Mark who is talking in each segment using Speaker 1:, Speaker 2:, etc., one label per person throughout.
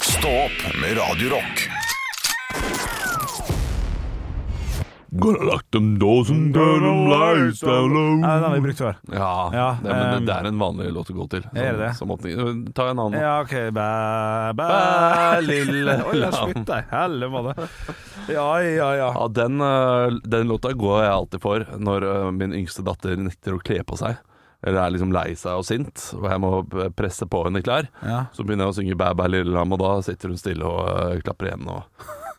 Speaker 1: Stå opp med Radio Rock.
Speaker 2: Gonna lock them doors and turn them lights down low.
Speaker 3: Ja, den har vi brukt før.
Speaker 2: Ja,
Speaker 3: Ja,
Speaker 2: det, men
Speaker 3: ehm,
Speaker 2: det, det er en vanlig låt å gå til. Sånn,
Speaker 3: Er det det?
Speaker 2: Som åpning. Ta en annen.
Speaker 3: Ja, OK. Bæ, bæ,
Speaker 2: Bæ, lille
Speaker 3: Oi, jeg
Speaker 2: lam.
Speaker 3: spytta i helvete. Ja, ja, ja.
Speaker 2: Ja, den, øh, den låta går jeg alltid for når øh, min yngste datter nekter å kle på seg. Eller er liksom lei seg og sint, og jeg må p- presse på henne klær.
Speaker 3: Ja.
Speaker 2: Så begynner jeg å synge 'Bæ bæ lille lam', og da sitter hun stille og øh, klapper igjen. Og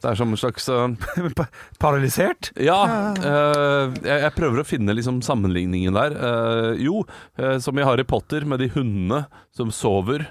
Speaker 2: det er som en slags øh,
Speaker 3: Pa- Paralysert?
Speaker 2: Ja, øh, jeg, jeg prøver å finne liksom sammenligningen der. Eh, jo, eh, som i Harry Potter med de hundene som sover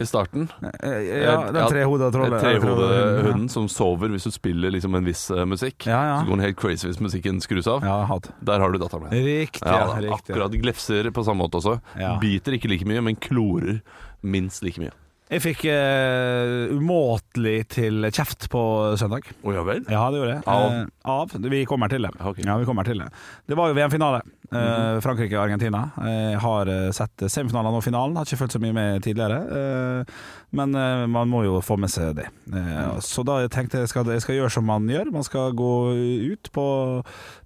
Speaker 2: i starten.
Speaker 3: Eh, Ja, den trehoda trollet.
Speaker 2: eh, Trehodehunden som sover hvis du spiller liksom en viss eh, musikk.
Speaker 3: Ja, ja.
Speaker 2: Så går den helt crazy hvis musikken skrus av.
Speaker 3: Ja, hatt.
Speaker 2: Der har du datteren min.
Speaker 3: Riktig.
Speaker 2: Ja,
Speaker 3: Ja,
Speaker 2: da,
Speaker 3: riktig.
Speaker 2: akkurat. Glefser på samme måte også.
Speaker 3: Ja.
Speaker 2: Biter ikke like mye, men klorer minst like mye.
Speaker 3: Jeg fikk eh, umåtelig til kjeft på søndag.
Speaker 2: Å ja vel?
Speaker 3: Ja, det gjorde jeg.
Speaker 2: Av?
Speaker 3: Eh, av. Vi kommer til det.
Speaker 2: Ja, ok.
Speaker 3: Ja, vi kommer til det. Det var jo VM-finale. Eh, Frankrike og Argentina. Jeg har eh, sett semifinalen og finalen, har ikke følt så mye med tidligere. Eh, men eh, man må jo få med seg det. Eh, Så da tenkte jeg skal, jeg skal gjøre som man gjør. Man skal gå ut på,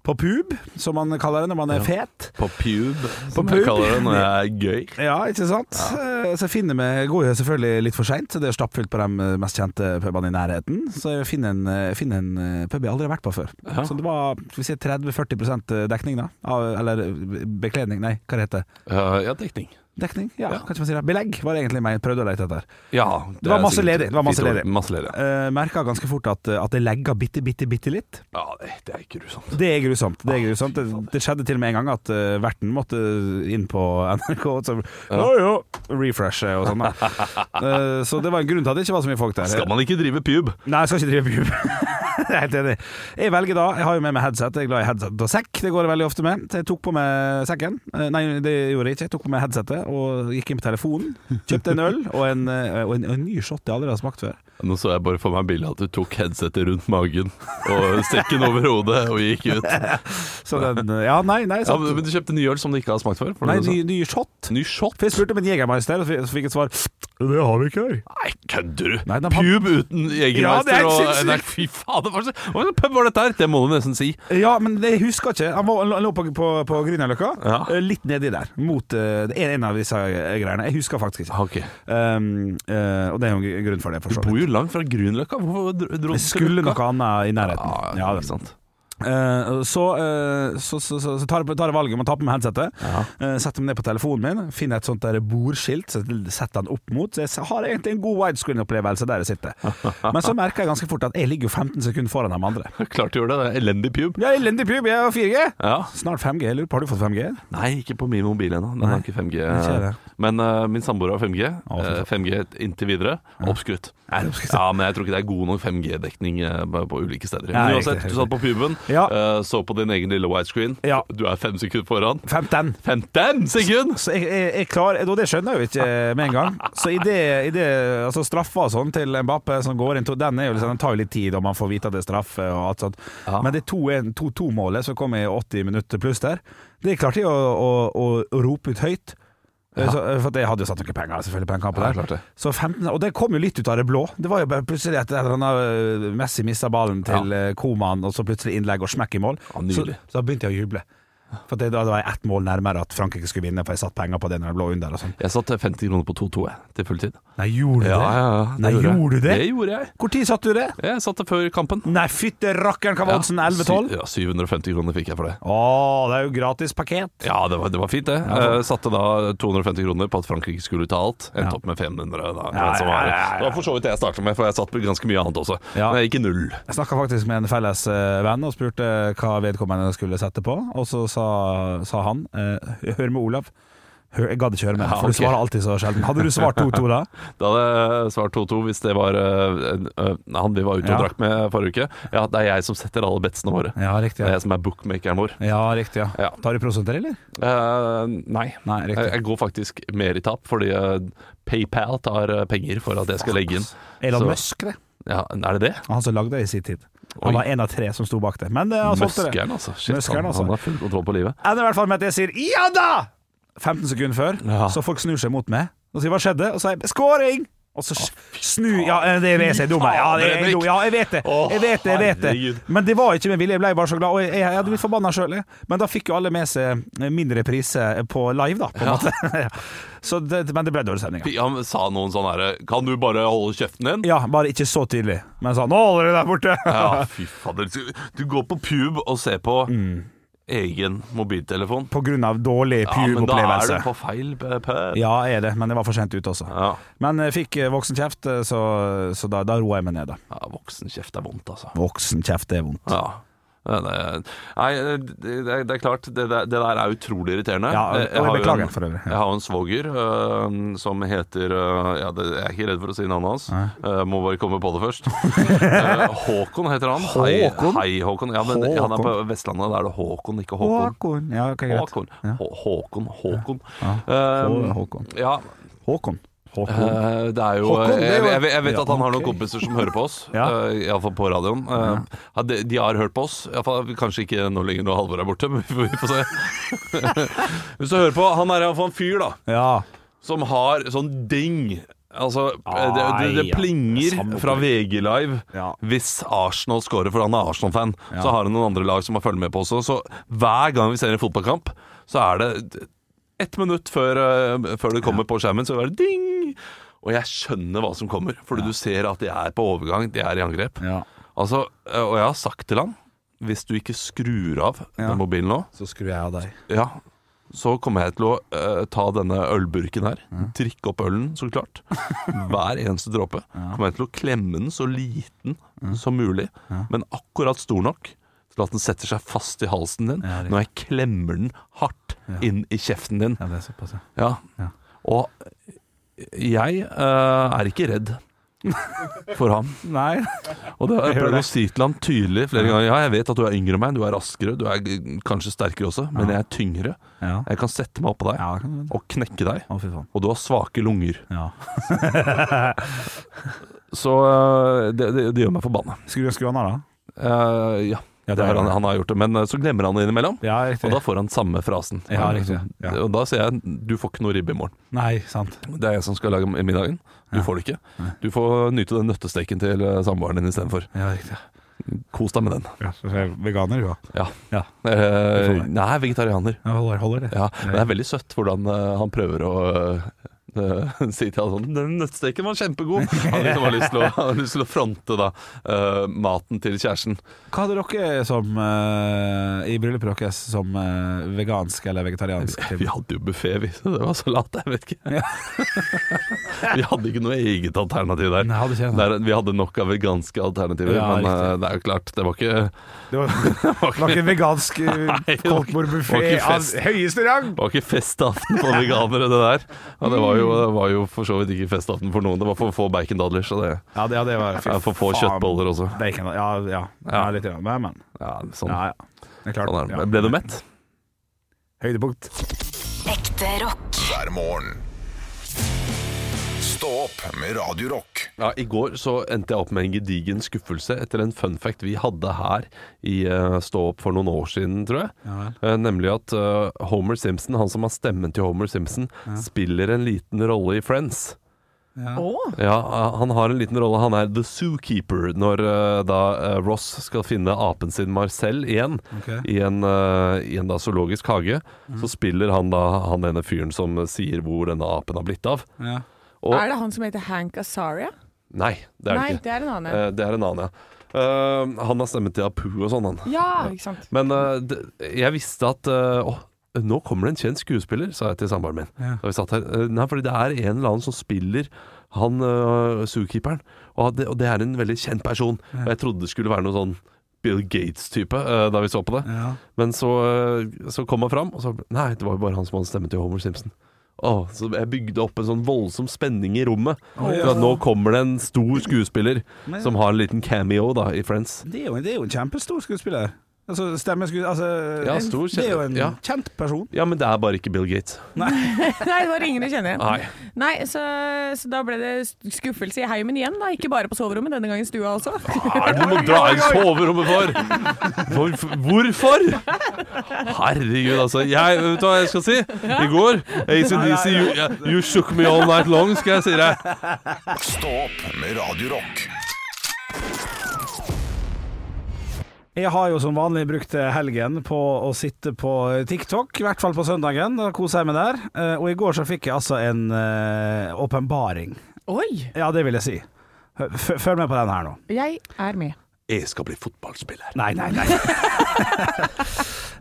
Speaker 3: på pub, som man kaller det når man er fet.
Speaker 2: På pub, som
Speaker 3: pub.
Speaker 2: jeg kaller det når jeg er gøy.
Speaker 3: Ja, ikke sant? Eh, Så jeg finner meg Går jo selvfølgelig litt for seint, det er stappfullt på de mest kjente pubene i nærheten. Så jeg finner en, eh, finner en eh, pub jeg aldri har vært på før.
Speaker 2: Ja.
Speaker 3: Så det var skal vi si 30-40 eh, dekning, da. Av, eller eh, bekledning, nei, hva det heter det?
Speaker 2: Eh, ja, dekning.
Speaker 3: Dekning? Ja,
Speaker 2: Ja.
Speaker 3: kan ikke man si det? Belegg var det egentlig meg jeg prøvde å lete etter.
Speaker 2: Ja.
Speaker 3: Det var
Speaker 2: er
Speaker 3: masse
Speaker 2: sikkert
Speaker 3: ledig, det var masse
Speaker 2: fint ord.
Speaker 3: ledig.
Speaker 2: Masse ledig.
Speaker 3: Uh, Merka ganske fort at, eh, at det legga bitte, bitte, bitte litt.
Speaker 2: Ja, det, det er grusomt.
Speaker 3: Det er grusomt. Det, er grusomt. det, det skjedde til og med en gang at eh, verten måtte eh, inn på NRK og så, ja. ja, refreshe og sånn. da. Eh, så det var en grunn til at det ikke var så mye folk der.
Speaker 2: Skal man ikke drive pub?
Speaker 3: Nei, jeg skal ikke drive med pub. Jeg er helt enig. Jeg velger da Jeg har jo med meg headset. Jeg er glad i headset og sekk. Det går jeg veldig ofte med. Så jeg tok på meg sekken. Eh, Nei, det gjorde jeg ikke. Jeg tok på meg headsetet og gikk inn på telefonen. Kjøpte en øl og en, eh, og en, og en ny shot jeg aldri har smakt før.
Speaker 2: Nå så jeg bare for meg bildet at du tok headsetet rundt magen og sekken over hodet og gikk ut.
Speaker 3: Så den eh, Ja, nei, nei.
Speaker 2: Ja,
Speaker 3: sant.
Speaker 2: men men du kjøpte ny øl som du ikke har smakt før? for
Speaker 3: Nei,
Speaker 2: det du
Speaker 3: ny,
Speaker 2: sa.
Speaker 3: ny shot.
Speaker 2: ny shot?
Speaker 3: For jeg spurte om en Jegermeister, og så fikk- så fikk jeg et svar Det har vi ikke her.
Speaker 2: Nei, kødder du?
Speaker 3: Nei, den har-
Speaker 2: Pub uten
Speaker 3: Ja, det
Speaker 2: Jegermeister
Speaker 3: er helt
Speaker 2: og
Speaker 3: sinnssykt.
Speaker 2: Nei, fy faen, det var så... hva slags pub var dette her? Det må du nesten si.
Speaker 3: Ja, men det jeg husker ikke. Han, var, han lå på, på, på Grünerløkka.
Speaker 2: Ja.
Speaker 3: eh, Litt nedi der. Mot eh, det er en av disse eh, greiene. Jeg husker faktisk ikke.
Speaker 2: Ok.
Speaker 3: Um, eh, og det er jo en gr- grunn for det, for så
Speaker 2: Bor
Speaker 3: vidt.
Speaker 2: jo langt fra Grünerløkka. Hvorfor dro dro du Ah,
Speaker 3: Jeg skulle noe annet i nærheten.
Speaker 2: Ja,
Speaker 3: Ja,
Speaker 2: ikke
Speaker 3: det.
Speaker 2: sant.
Speaker 3: Eh, så, eh, så, så, så, så tar jeg tar jeg valget om å ta på meg headsetet.
Speaker 2: Ja.
Speaker 3: eh, setter meg ned på telefonen min, finner et sånt der bordskilt, så setter den opp mot. Så jeg har egentlig en god widescreen-opplevelse der jeg sitter. Men så merker jeg ganske fort at jeg ligger jo 15 sekunder foran de andre.
Speaker 2: Klart du gjorde det. det er Elendig pub.
Speaker 3: Jeg er elendig pub, jeg har 4G!
Speaker 2: Ja.
Speaker 3: Snart 5G, jeg lurer på. Har du fått 5G?
Speaker 2: Nei, ikke på min mobil ennå. Den har ikke 5G.
Speaker 3: ikke det.
Speaker 2: Men eh, min samboer har 5G.
Speaker 3: Å, fy
Speaker 2: Eh, 5G inntil videre. Oppskrutt.
Speaker 3: Er det oppskrutt?
Speaker 2: Ja, men jeg tror ikke det er god nok 5G-dekning eh, på, på ulike steder.
Speaker 3: Nei,
Speaker 2: Men
Speaker 3: riktig,
Speaker 2: uansett,
Speaker 3: riktig.
Speaker 2: du satt på puben,
Speaker 3: Ja.
Speaker 2: eh, så på din egen lille widescreen.
Speaker 3: Ja.
Speaker 2: Du er fem sekunder foran.
Speaker 3: 15!
Speaker 2: 15 sekunder!
Speaker 3: Så jeg, jeg, jeg klarer, og det skjønner jeg jo ikke eh, med en gang. Så i det, i det altså straffa og sånn til Mbappe som går inn, to- den, er jo liksom, den tar jo litt tid, og man får vite at det er straffe og alt sånt.
Speaker 2: Ja.
Speaker 3: Men det 2-1-2-2-målet som kom i 80 minutter pluss der, det klarte jeg å, å, å, å rope ut høyt. Eh, Så, for at jeg hadde jo satt noen penger selvfølgelig på den kampen.
Speaker 2: Ja,
Speaker 3: der
Speaker 2: klart det.
Speaker 3: Så 15, Og det kom jo litt ut av det blå. Det var jo bare plutselig at et eller annet, øh, Messi mista ballen til ja. Koman, og så plutselig innlegg og smekk i mål.
Speaker 2: Ja,
Speaker 3: så,
Speaker 2: nydelig.
Speaker 3: så da begynte jeg å juble. For det, da var jeg ett mål nærmere at Frankrike skulle vinne, for jeg satt penger på det når det lå under og sånn.
Speaker 2: Jeg satt 50 kroner på 2-2 jeg, til fulltid.
Speaker 3: Nei, gjorde du det?
Speaker 2: det
Speaker 3: Nei,
Speaker 2: jeg.
Speaker 3: gjorde du det?
Speaker 2: Det gjorde jeg.
Speaker 3: Hvor tid satt du det?
Speaker 2: Jeg satt det før kampen.
Speaker 3: Nei, fytte rakkeren, hva var oddsen?
Speaker 2: Ja,
Speaker 3: 11-12?
Speaker 2: sy- Ja, 750 kroner fikk jeg for det.
Speaker 3: Å, det er jo gratis pakket.
Speaker 2: Ja, det var, det var fint, det. Eh, satte da 250 kroner på at Frankrike skulle ta alt. Endte
Speaker 3: Ja.
Speaker 2: opp med 500. Da,
Speaker 3: Ja,
Speaker 2: som var,
Speaker 3: ja, ja, ja.
Speaker 2: det var for så vidt det jeg starta med, for jeg satt på ganske mye annet også.
Speaker 3: Ja.
Speaker 2: Men jeg gikk i null.
Speaker 3: Jeg snakka faktisk med en felles eh, venn og spurte hva vedkommende skulle sette på, og så sa, sa han eh, Hør med Olav. Hør, jeg gadd ikke høre med,
Speaker 2: Ja,
Speaker 3: for du
Speaker 2: ok.
Speaker 3: svarer alltid så sjelden. Hadde du svart 2-2 da?
Speaker 2: Da hadde jeg svart 2-2 hvis det var øh, øh, han vi var ute
Speaker 3: Ja.
Speaker 2: og drakk med forrige uke. Ja, det er jeg som setter alle betsene våre.
Speaker 3: Ja, riktig.
Speaker 2: Det er
Speaker 3: Ja,
Speaker 2: jeg som er bookmakeren vår.
Speaker 3: ja riktig. Ja.
Speaker 2: Ja.
Speaker 3: Tar du prosenter, eller?
Speaker 2: Eh, nei.
Speaker 3: Nei,
Speaker 2: Jeg,
Speaker 3: riktig.
Speaker 2: jeg går faktisk mer i tap, fordi øh, PayPal tar øh, penger for at jeg skal legge inn.
Speaker 3: Elon
Speaker 2: så-
Speaker 3: Musk, det.
Speaker 2: Ja, er det det?
Speaker 3: Han som lagde det i sin tid. Han
Speaker 2: Oi.
Speaker 3: var en av tre som sto bak det. Men eh, han solgte det.
Speaker 2: Muskeren, altså. Shit,
Speaker 3: Muskeren,
Speaker 2: han,
Speaker 3: altså.
Speaker 2: han har full kontroll på livet.
Speaker 3: Ender i hvert fall med at jeg sier 'ja da!' 15 sekunder før,
Speaker 2: Ja.
Speaker 3: så folk snur seg mot meg og sier 'hva skjedde?' Og så sier jeg 'scoring'! Og så s- snu Ja, eh, det vet jeg, jeg er dum. jeg. Ja, det er jeg dum. ja, jeg vet det. Jeg vet det, jeg vet det. Men det var ikke med vilje. Jeg ble bare så glad. Og jeg, jeg hadde blitt forbanna sjøl. Men da fikk jo alle med seg eh, mindre priser på live, da, på en måte. Ja. Så det, men det ble dårlig stemning. ja.
Speaker 2: Han sa noen sånn herre Kan du bare holde kjeften din?
Speaker 3: Ja, bare ikke så tidlig. Men sånn Nå holder du der borte!
Speaker 2: Ja, fy fader. Du går på pub og ser på
Speaker 3: Mm.
Speaker 2: egen mobiltelefon.
Speaker 3: På grunn av dårlig
Speaker 2: Ja, men da er
Speaker 3: pubopplevelse.
Speaker 2: du på feil pub.
Speaker 3: Ja, jeg er det, men jeg var for sent ute også.
Speaker 2: Ja.
Speaker 3: Men jeg fikk eh, voksen kjeft, eh, så, så da, da roa jeg meg ned, da.
Speaker 2: ja, voksenkjeft er vondt, altså.
Speaker 3: Voksen kjeft, det er vondt.
Speaker 2: Ja. Ja, det- Nei, det, det, det er klart. Det, der- det der er utrolig irriterende.
Speaker 3: Ja, eh, og
Speaker 2: Jeg- jeg
Speaker 3: jeg
Speaker 2: har jo
Speaker 3: beklager
Speaker 2: en-
Speaker 3: for øvrig, ja.
Speaker 2: Jeg har jo en svoger øh, som heter øh, ja, det, Jeg er ikke redd for å si navnet hans. Øh, må bare komme på det først. Øh, Håkon heter han.
Speaker 3: Håkon?
Speaker 2: Hei, hei, Håkon. Ja, men han er på
Speaker 3: Håkon.
Speaker 2: Vestlandet. Da er det Håkon, ikke Håkon.
Speaker 3: Håkon. Ja, ok, greit.
Speaker 2: Håkon. Hå- Håkon. Håkon.
Speaker 3: Hå-
Speaker 2: Eh,
Speaker 3: Håkon.
Speaker 2: ja,
Speaker 3: Håkon. Håkon.
Speaker 2: eh, det er jo
Speaker 3: Håkon, det er
Speaker 2: jeg,
Speaker 3: jo-
Speaker 2: jeg, jeg vet
Speaker 3: Ja,
Speaker 2: at han har noen
Speaker 3: ok.
Speaker 2: kompiser som hører på oss,
Speaker 3: Ja.
Speaker 2: eh, i alle iallfall på radioen. Eh, ja, de, de har hørt på oss. I alle fall, kanskje ikke nå lenger når Halvor er borte, men vi får, vi får se. Hvis du hører på, han er iallfall en fyr da
Speaker 3: Ja.
Speaker 2: som har sånn ding. Altså, eh, det, det, det
Speaker 3: Ai, ja.
Speaker 2: plinger
Speaker 3: Samme
Speaker 2: fra
Speaker 3: opplegg.
Speaker 2: VG Live
Speaker 3: Ja.
Speaker 2: hvis Arsenal scorer, for han er Arsenal-fan. Så har han noen andre lag som har følger med på også. Så hver gang vi ser en fotballkamp, så er det ett minutt før, eh, før det kommer på skjermen, så er det ding! Og jeg skjønner hva som kommer, fordi du ser at de er på overgang, de er i angrep.
Speaker 3: ja.
Speaker 2: Altså, eh, og jeg har sagt til han hvis du ikke skrur av
Speaker 3: Ja.
Speaker 2: den mobilen nå,
Speaker 3: Så skrur jeg av deg.
Speaker 2: ja, så kommer jeg til å eh, ta denne ølburken her,
Speaker 3: Mm.
Speaker 2: drikke opp ølen, så klart. Hver eneste dråpe. Kommer jeg til å klemme den så liten
Speaker 3: Mm.
Speaker 2: som mulig, men akkurat stor nok til at den setter seg fast i halsen din
Speaker 3: Ja, riktig.
Speaker 2: når jeg klemmer den hardt inn i kjeften din.
Speaker 3: Ja, det er såpass, ja.
Speaker 2: Ja.
Speaker 3: Ja.
Speaker 2: Og jeg eh, er ikke redd for ham.
Speaker 3: Nei.
Speaker 2: Og det har jeg
Speaker 3: Jeg hører
Speaker 2: prøvd å
Speaker 3: det.
Speaker 2: si til ham tydelig flere ganger. Ja, jeg vet at du er yngre enn meg, du er raskere, du er g- kanskje sterkere også, men jeg er tyngre.
Speaker 3: Ja.
Speaker 2: Jeg kan sette meg oppå deg
Speaker 3: Ja, det kan du vente.
Speaker 2: og knekke deg,
Speaker 3: Å, fy faen.
Speaker 2: og du har svake lunger.
Speaker 3: Ja.
Speaker 2: Så øh, det, det, det gjør meg forbanna.
Speaker 3: Skru skru han av, da.
Speaker 2: Eh, ja,
Speaker 3: Ja,
Speaker 2: det har han, han har gjort det, men øh, så glemmer han det innimellom.
Speaker 3: Ja,
Speaker 2: Og
Speaker 3: riktig.
Speaker 2: da får han samme frasen.
Speaker 3: Ja, riktig. Ja.
Speaker 2: Og da sier jeg du får ikke noe ribbe i morgen.
Speaker 3: Nei, sant.
Speaker 2: Det er jeg som skal lage middagen. Du får det ikke. Du får nyte den nøttesteken til øh, samboeren din istedenfor.
Speaker 3: Ja, riktig.
Speaker 2: Kos deg med den.
Speaker 3: Ja, så er jeg veganer, du, da.
Speaker 2: Ja.
Speaker 3: Ja.
Speaker 2: Eh,
Speaker 3: får det.
Speaker 2: nei, vegetarianer.
Speaker 3: Jeg holder, holder det.
Speaker 2: Ja, men det er veldig søtt hvordan eh, han prøver å eh, eh, si til alle sånn Den nøttsteken var kjempegod! Han liksom har lyst til å, har lyst til å fronte da eh, maten til kjæresten.
Speaker 3: Hva hadde dere som eh, i bryllupet deres som eh, vegansk eller vegetariansk?
Speaker 2: Vi hadde jo buffé, vi. Så det var salat, jeg vet ikke.
Speaker 3: Ja.
Speaker 2: vi hadde ikke noe eget alternativ der.
Speaker 3: Nei, hadde ikke det.
Speaker 2: Der, vi hadde nok av veganske alternativer,
Speaker 3: Ja,
Speaker 2: men eh, det er jo klart, det var ikke,
Speaker 3: Det var, det var ikke en vegansk
Speaker 2: det var- det var
Speaker 3: koldtbordbuffé
Speaker 2: ikke
Speaker 3: av
Speaker 2: fest.
Speaker 3: høyeste rang!
Speaker 2: det var ikke festaften for veganere, det der. Ja, det, var jo, det var jo for så vidt ikke festaften for noen. Det var for få bacondadler, så det
Speaker 3: Ja, det, ja, det var
Speaker 2: er for få kjøttboller også.
Speaker 3: Bacon, ja, ja. ja, litt. Ja. Men, men.
Speaker 2: Ja, sånn.
Speaker 3: Ja, ja. Det er klart.
Speaker 2: Sånn er det.
Speaker 3: Ja.
Speaker 2: Ble du mett?
Speaker 3: Høydepunkt.
Speaker 4: Ekte rock.
Speaker 1: hver morgen. Stå opp med Radio Rock.
Speaker 2: Ja, I går så endte jeg opp med en gedigen skuffelse etter en fun fact vi hadde her i eh, Stå opp for noen år siden, tror jeg. Eh, nemlig at eh, Homer Simpson, han som har stemmen til Homer Simpson, spiller en liten rolle i Friends. Ja, eh, Han har en liten rolle. Han er the zookeeper når eh, da eh, Ross skal finne apen sin Marcel igjen
Speaker 3: Ok.
Speaker 2: i en, eh, i en da zoologisk hage. Så spiller han da han ene fyren som sier hvor denne apen har blitt av.
Speaker 3: Ja.
Speaker 2: Og-
Speaker 5: Er det han som heter Hank Azaria?
Speaker 2: Nei, det er det
Speaker 5: Nei,
Speaker 2: ikke.
Speaker 5: det er en annen.
Speaker 2: Eh, Det er en annen, ja. Eh, han har stemmen til Apu og sånn, han.
Speaker 5: ja, ikke sant.
Speaker 2: Men eh, det- jeg visste at eh, Åh, nå kommer det en kjent skuespiller, sa jeg til samboeren min.
Speaker 3: Ja.
Speaker 2: Da vi satt her. Eh, Nei, fordi det er en eller annen som spiller han uh, zookeeperen, og det, og det er en veldig kjent person. Og jeg trodde det skulle være noe sånn Bill Gates-type eh, da vi så på det.
Speaker 3: Ja.
Speaker 2: Men så, eh, så kom han fram, og så Nei, det var jo bare han som hadde stemmen til Homer Simpson. Åh, så jeg bygde opp en sånn voldsom spenning i rommet. For at nå kommer det en stor skuespiller
Speaker 3: Men-
Speaker 2: som har en liten cameo da i Friends.
Speaker 3: Det, er jo, det er jo en kjempestor skuespiller. Altså, stemmeskuespiller altså,
Speaker 2: Ja,
Speaker 3: en-
Speaker 2: stor
Speaker 3: Det er jo en
Speaker 2: kjent- ja.
Speaker 3: kjent person.
Speaker 2: Ja, men det er bare ikke Bill Gates.
Speaker 5: Nei, det var ingen jeg kjenner igjen.
Speaker 2: Nei.
Speaker 5: Nei, så, så da ble det skuffelse i heimen igjen, da. Ikke bare på soverommet, denne gangen i stua også.
Speaker 2: Nei, du må dra inn soverommet for! Hvorf- Hvorfor? Herregud, altså. Jeg, vet du hva jeg skal si? I går ACDC, you, you shook me all night long, skal jeg si deg.
Speaker 1: Stå opp med Radio Rock.
Speaker 3: Jeg har jo som vanlig brukt helgen på å sitte på TikTok, i hvert fall på søndagen. Da koser jeg meg der. Eh, Og i går så fikk jeg altså en eh, åpenbaring.
Speaker 5: Oi!
Speaker 3: Ja, det vil jeg si. Hø- f- Følg med på den her nå.
Speaker 5: Jeg er med.
Speaker 2: Jeg skal bli fotballspiller.
Speaker 3: Nei, nei, nei.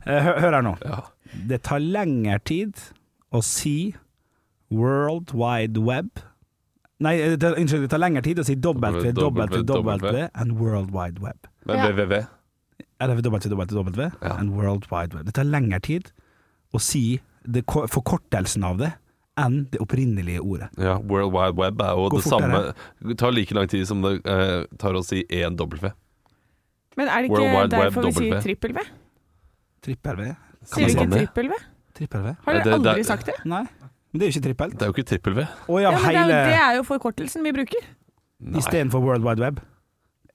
Speaker 3: Eh, hø- Hør her nå.
Speaker 2: Ja.
Speaker 3: Det tar lengre tid å si World Wide Web Nei, eh, det tar, unnskyld, det tar lengre tid å si www and World Wide Web.
Speaker 2: Men
Speaker 5: Ja.
Speaker 2: WWW?
Speaker 3: Eller www
Speaker 2: Ja.
Speaker 3: and World Wide Web. Det tar lengre tid å si det, ko- forkortelsen av det enn det opprinnelige ordet.
Speaker 2: Ja, World Wide Web er jo
Speaker 3: Går
Speaker 2: det samme
Speaker 3: fortere.
Speaker 2: Det tar like lang tid som det eh, tar å si én W.
Speaker 5: Men er det
Speaker 2: World
Speaker 5: ikke
Speaker 2: Wide
Speaker 5: derfor
Speaker 2: Web,
Speaker 5: vi sier
Speaker 2: W.
Speaker 5: trippel-V?
Speaker 3: Trippel-V?
Speaker 5: Sier vi
Speaker 2: man
Speaker 5: ikke
Speaker 2: si det?
Speaker 5: trippel-V?
Speaker 3: Trippel-V?
Speaker 5: Har
Speaker 2: Nei, det-
Speaker 5: dere aldri
Speaker 2: det-
Speaker 5: sagt det?
Speaker 3: Nei, men det er jo ikke trippelt.
Speaker 2: Det er jo ikke trippel V.
Speaker 3: Å ja,
Speaker 5: Ja, men det er,
Speaker 3: hele
Speaker 5: jo- det er jo forkortelsen vi bruker.
Speaker 2: Nei.
Speaker 3: istedenfor World Wide Web.
Speaker 5: Ja.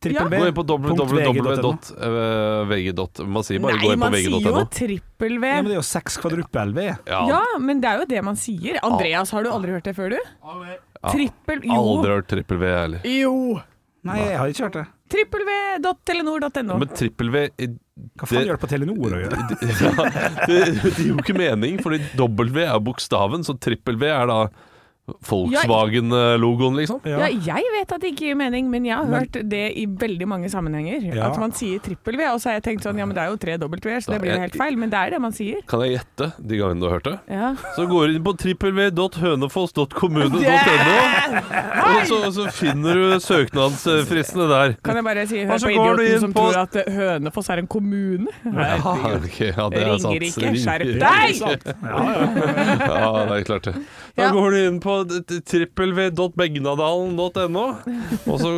Speaker 3: Trippel-V.
Speaker 2: Gå inn på
Speaker 3: www.vg.no.
Speaker 2: www.vg.no. Man sier bare gå
Speaker 5: Nei,
Speaker 2: inn på
Speaker 5: man sier jo
Speaker 2: vg.no.
Speaker 5: trippel-V.
Speaker 3: Ja, men det er jo seks kvadruppel-V.
Speaker 5: Ja, men det er jo det man sier. Andreas, har du aldri hørt det før, du? Trippel
Speaker 2: Aldri
Speaker 5: Jo.
Speaker 2: hørt trippel V, jeg heller.
Speaker 5: Jo.
Speaker 3: Nei, jeg har ikke hørt det.
Speaker 5: Trippelv.telenor.no.
Speaker 2: Men trippel V i-
Speaker 3: Hva faen
Speaker 2: Det-
Speaker 3: gjør det på Telenor å
Speaker 2: ja,
Speaker 3: gjøre?
Speaker 2: det, det gir jo ikke mening, fordi W er bokstaven, så trippel V er da Volkswagen-logoen, liksom.
Speaker 5: Ja. jeg vet at det ikke gir mening, men jeg har hørt det i veldig mange sammenhenger.
Speaker 3: Ja.
Speaker 5: At man sier trippel-V, og så har jeg tenkt sånn, ja men det er jo tre dobbelt-V-er, så det blir jo helt feil. Men det er det man sier.
Speaker 2: Kan jeg gjette de gangene du har hørt det?
Speaker 5: Ja.
Speaker 2: Så går du inn på trippelv.hønefoss.kommune.no, og så, og så finner du søknadsfristene der.
Speaker 5: Kan jeg bare si, hør
Speaker 2: Og så
Speaker 5: på
Speaker 2: går du
Speaker 5: idioten
Speaker 2: inn
Speaker 5: som
Speaker 2: på-
Speaker 5: tror at eh, Hønefoss er en kommune.
Speaker 2: Ja, ok, ja, det er sant.
Speaker 5: Ringerike, skjerp
Speaker 2: Ringerike.
Speaker 5: deg!
Speaker 2: Ja, det er klart det. Da
Speaker 5: Ja.
Speaker 2: går du inn på d- d- trippelv.begnadalen.no, og så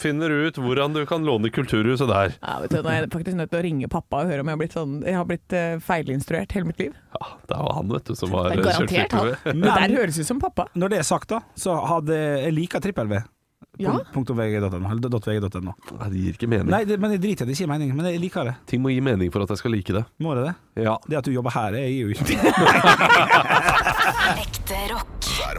Speaker 2: finner du ut hvordan du kan låne kulturhuset der.
Speaker 5: Ja, vet du, nå er jeg faktisk nødt til å ringe pappa og høre om jeg har blitt, sånn, jeg har blitt eh, feilinstruert hele mitt liv.
Speaker 2: Ja, det var han, vet du, som har
Speaker 5: Det er
Speaker 2: eh, kjørt
Speaker 5: garantert han.
Speaker 2: trippel-v.
Speaker 5: Det der
Speaker 3: Men
Speaker 5: høres ut som pappa.
Speaker 3: når det er sagt, da, så hadde jeg liker trippel-V.
Speaker 5: Ja.
Speaker 3: Punktum vg.no. Eller dot vg.no.
Speaker 2: Nei, det gir ikke mening.
Speaker 3: Nei, det, men jeg driter i det, det gir mening. Men jeg liker det.
Speaker 2: Ting må gi mening for at jeg skal like det.
Speaker 3: Må det det?
Speaker 2: Ja.
Speaker 3: Det at du jobber her, jeg gir jo ikke
Speaker 4: Ekte rock.
Speaker 1: hver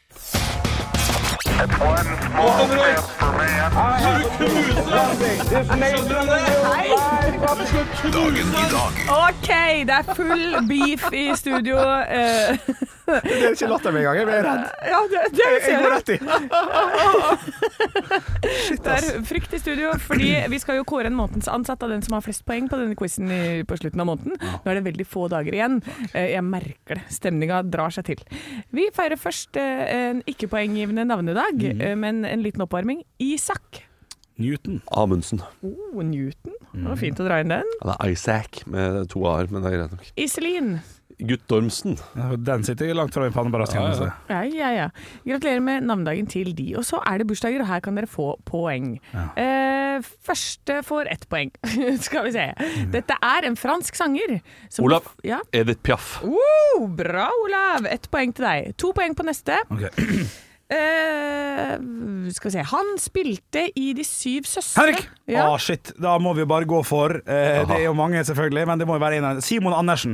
Speaker 1: Dagen i dag
Speaker 5: Ok, det er full beef i studio. eh,
Speaker 3: Det er ikke latter med engang, jeg blir redd.
Speaker 5: ja, det, det, ser du.
Speaker 3: rett i.
Speaker 5: det er frykt i studio, fordi vi skal jo kåre en månedens ansatt av den som har flest poeng på denne quizen på slutten av måneden. Nå er det veldig få dager igjen. Eh, Jeg merker det. Stemninga drar seg til. Vi feirer først eh, en ikke-poenggivende navnedag, eh, men en liten oppvarming. Isak.
Speaker 3: Newton.
Speaker 2: Amundsen.
Speaker 5: Oh, Newton. Det var fint å dra inn den.
Speaker 2: Han er Isaac med to a-er, men det er greit nok.
Speaker 5: Iselin.
Speaker 2: Guttormsen.
Speaker 3: Den sitter langt fra min panne, bare raskt.
Speaker 2: Ja, ja.
Speaker 5: Ja, ja, ja. Gratulerer med navnedagen til de. Og så er det bursdager, og her kan dere få poeng. Eh, første får ett poeng, skal vi se.
Speaker 3: Mm.
Speaker 5: Dette er en fransk sanger. som-
Speaker 2: Olav.
Speaker 5: Ja.
Speaker 2: Edith Piaf.
Speaker 5: Wow, bra, Olav! Ett poeng til deg. To poeng på neste.
Speaker 3: Ok.
Speaker 5: Eh, skal vi se Han spilte i De syv søstre.
Speaker 3: Henrik! Å,
Speaker 5: Ja.
Speaker 3: shit. Da må vi bare gå for eh, Det er jo mange, selvfølgelig, men det må jo være en av Simon Andersen.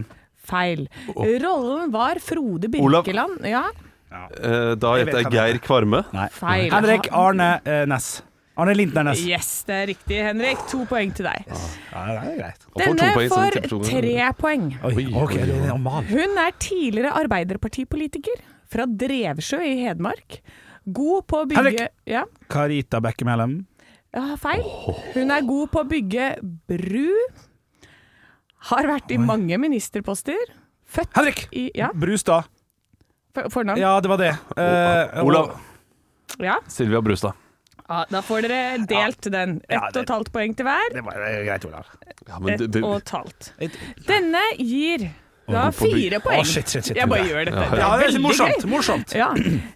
Speaker 5: Feil. Rollen var Frode
Speaker 2: Olav.
Speaker 5: Birkeland. Ja,
Speaker 2: Eh, da heter
Speaker 3: Jeg
Speaker 2: jeg
Speaker 3: vet hvem det er.
Speaker 2: Geir Kvarme.
Speaker 3: Nei.
Speaker 5: Feil.
Speaker 3: Henrik Arne eh, Næss. Arne Lindner Næss.
Speaker 5: yes, det er riktig, Henrik. To poeng til deg.
Speaker 3: Ja, det er greit.
Speaker 2: Han får to
Speaker 5: Denne
Speaker 2: poeng, så den
Speaker 5: får
Speaker 2: tipper to ganger.
Speaker 5: tre poeng.
Speaker 3: Oi,
Speaker 2: Oi,
Speaker 3: ok,
Speaker 2: oi, oi.
Speaker 3: det er en mal.
Speaker 5: Hun er tidligere arbeiderpartipolitiker fra Drevsjø i Hedmark. God på å bygge
Speaker 3: Henrik!
Speaker 5: ja.
Speaker 3: Karita Bekkemellem.
Speaker 5: ja, feil. Hun er god på å bygge bru. Har vært i mange ministerposter. Født
Speaker 3: Henrik!
Speaker 5: i Ja,
Speaker 3: Brustad.
Speaker 5: for- fornavn. Ja.
Speaker 3: Ja, det var det. Eh,
Speaker 2: Olav.
Speaker 5: Ja.
Speaker 2: Silvia Brustad.
Speaker 5: Da får dere delt den. Ett
Speaker 3: Ja, det-
Speaker 5: og et halvt poeng til hver.
Speaker 3: Det var det er greit, Olav.
Speaker 2: Ja,
Speaker 5: Ett og et halvt. Denne gir Da
Speaker 2: god på by.
Speaker 5: fire poeng.
Speaker 3: Å, shit, shit, shit.
Speaker 5: jeg bare gjør dette.
Speaker 3: Ja, det er litt
Speaker 5: veldig
Speaker 3: morsomt.
Speaker 5: gøy.
Speaker 3: morsomt.
Speaker 5: Ja.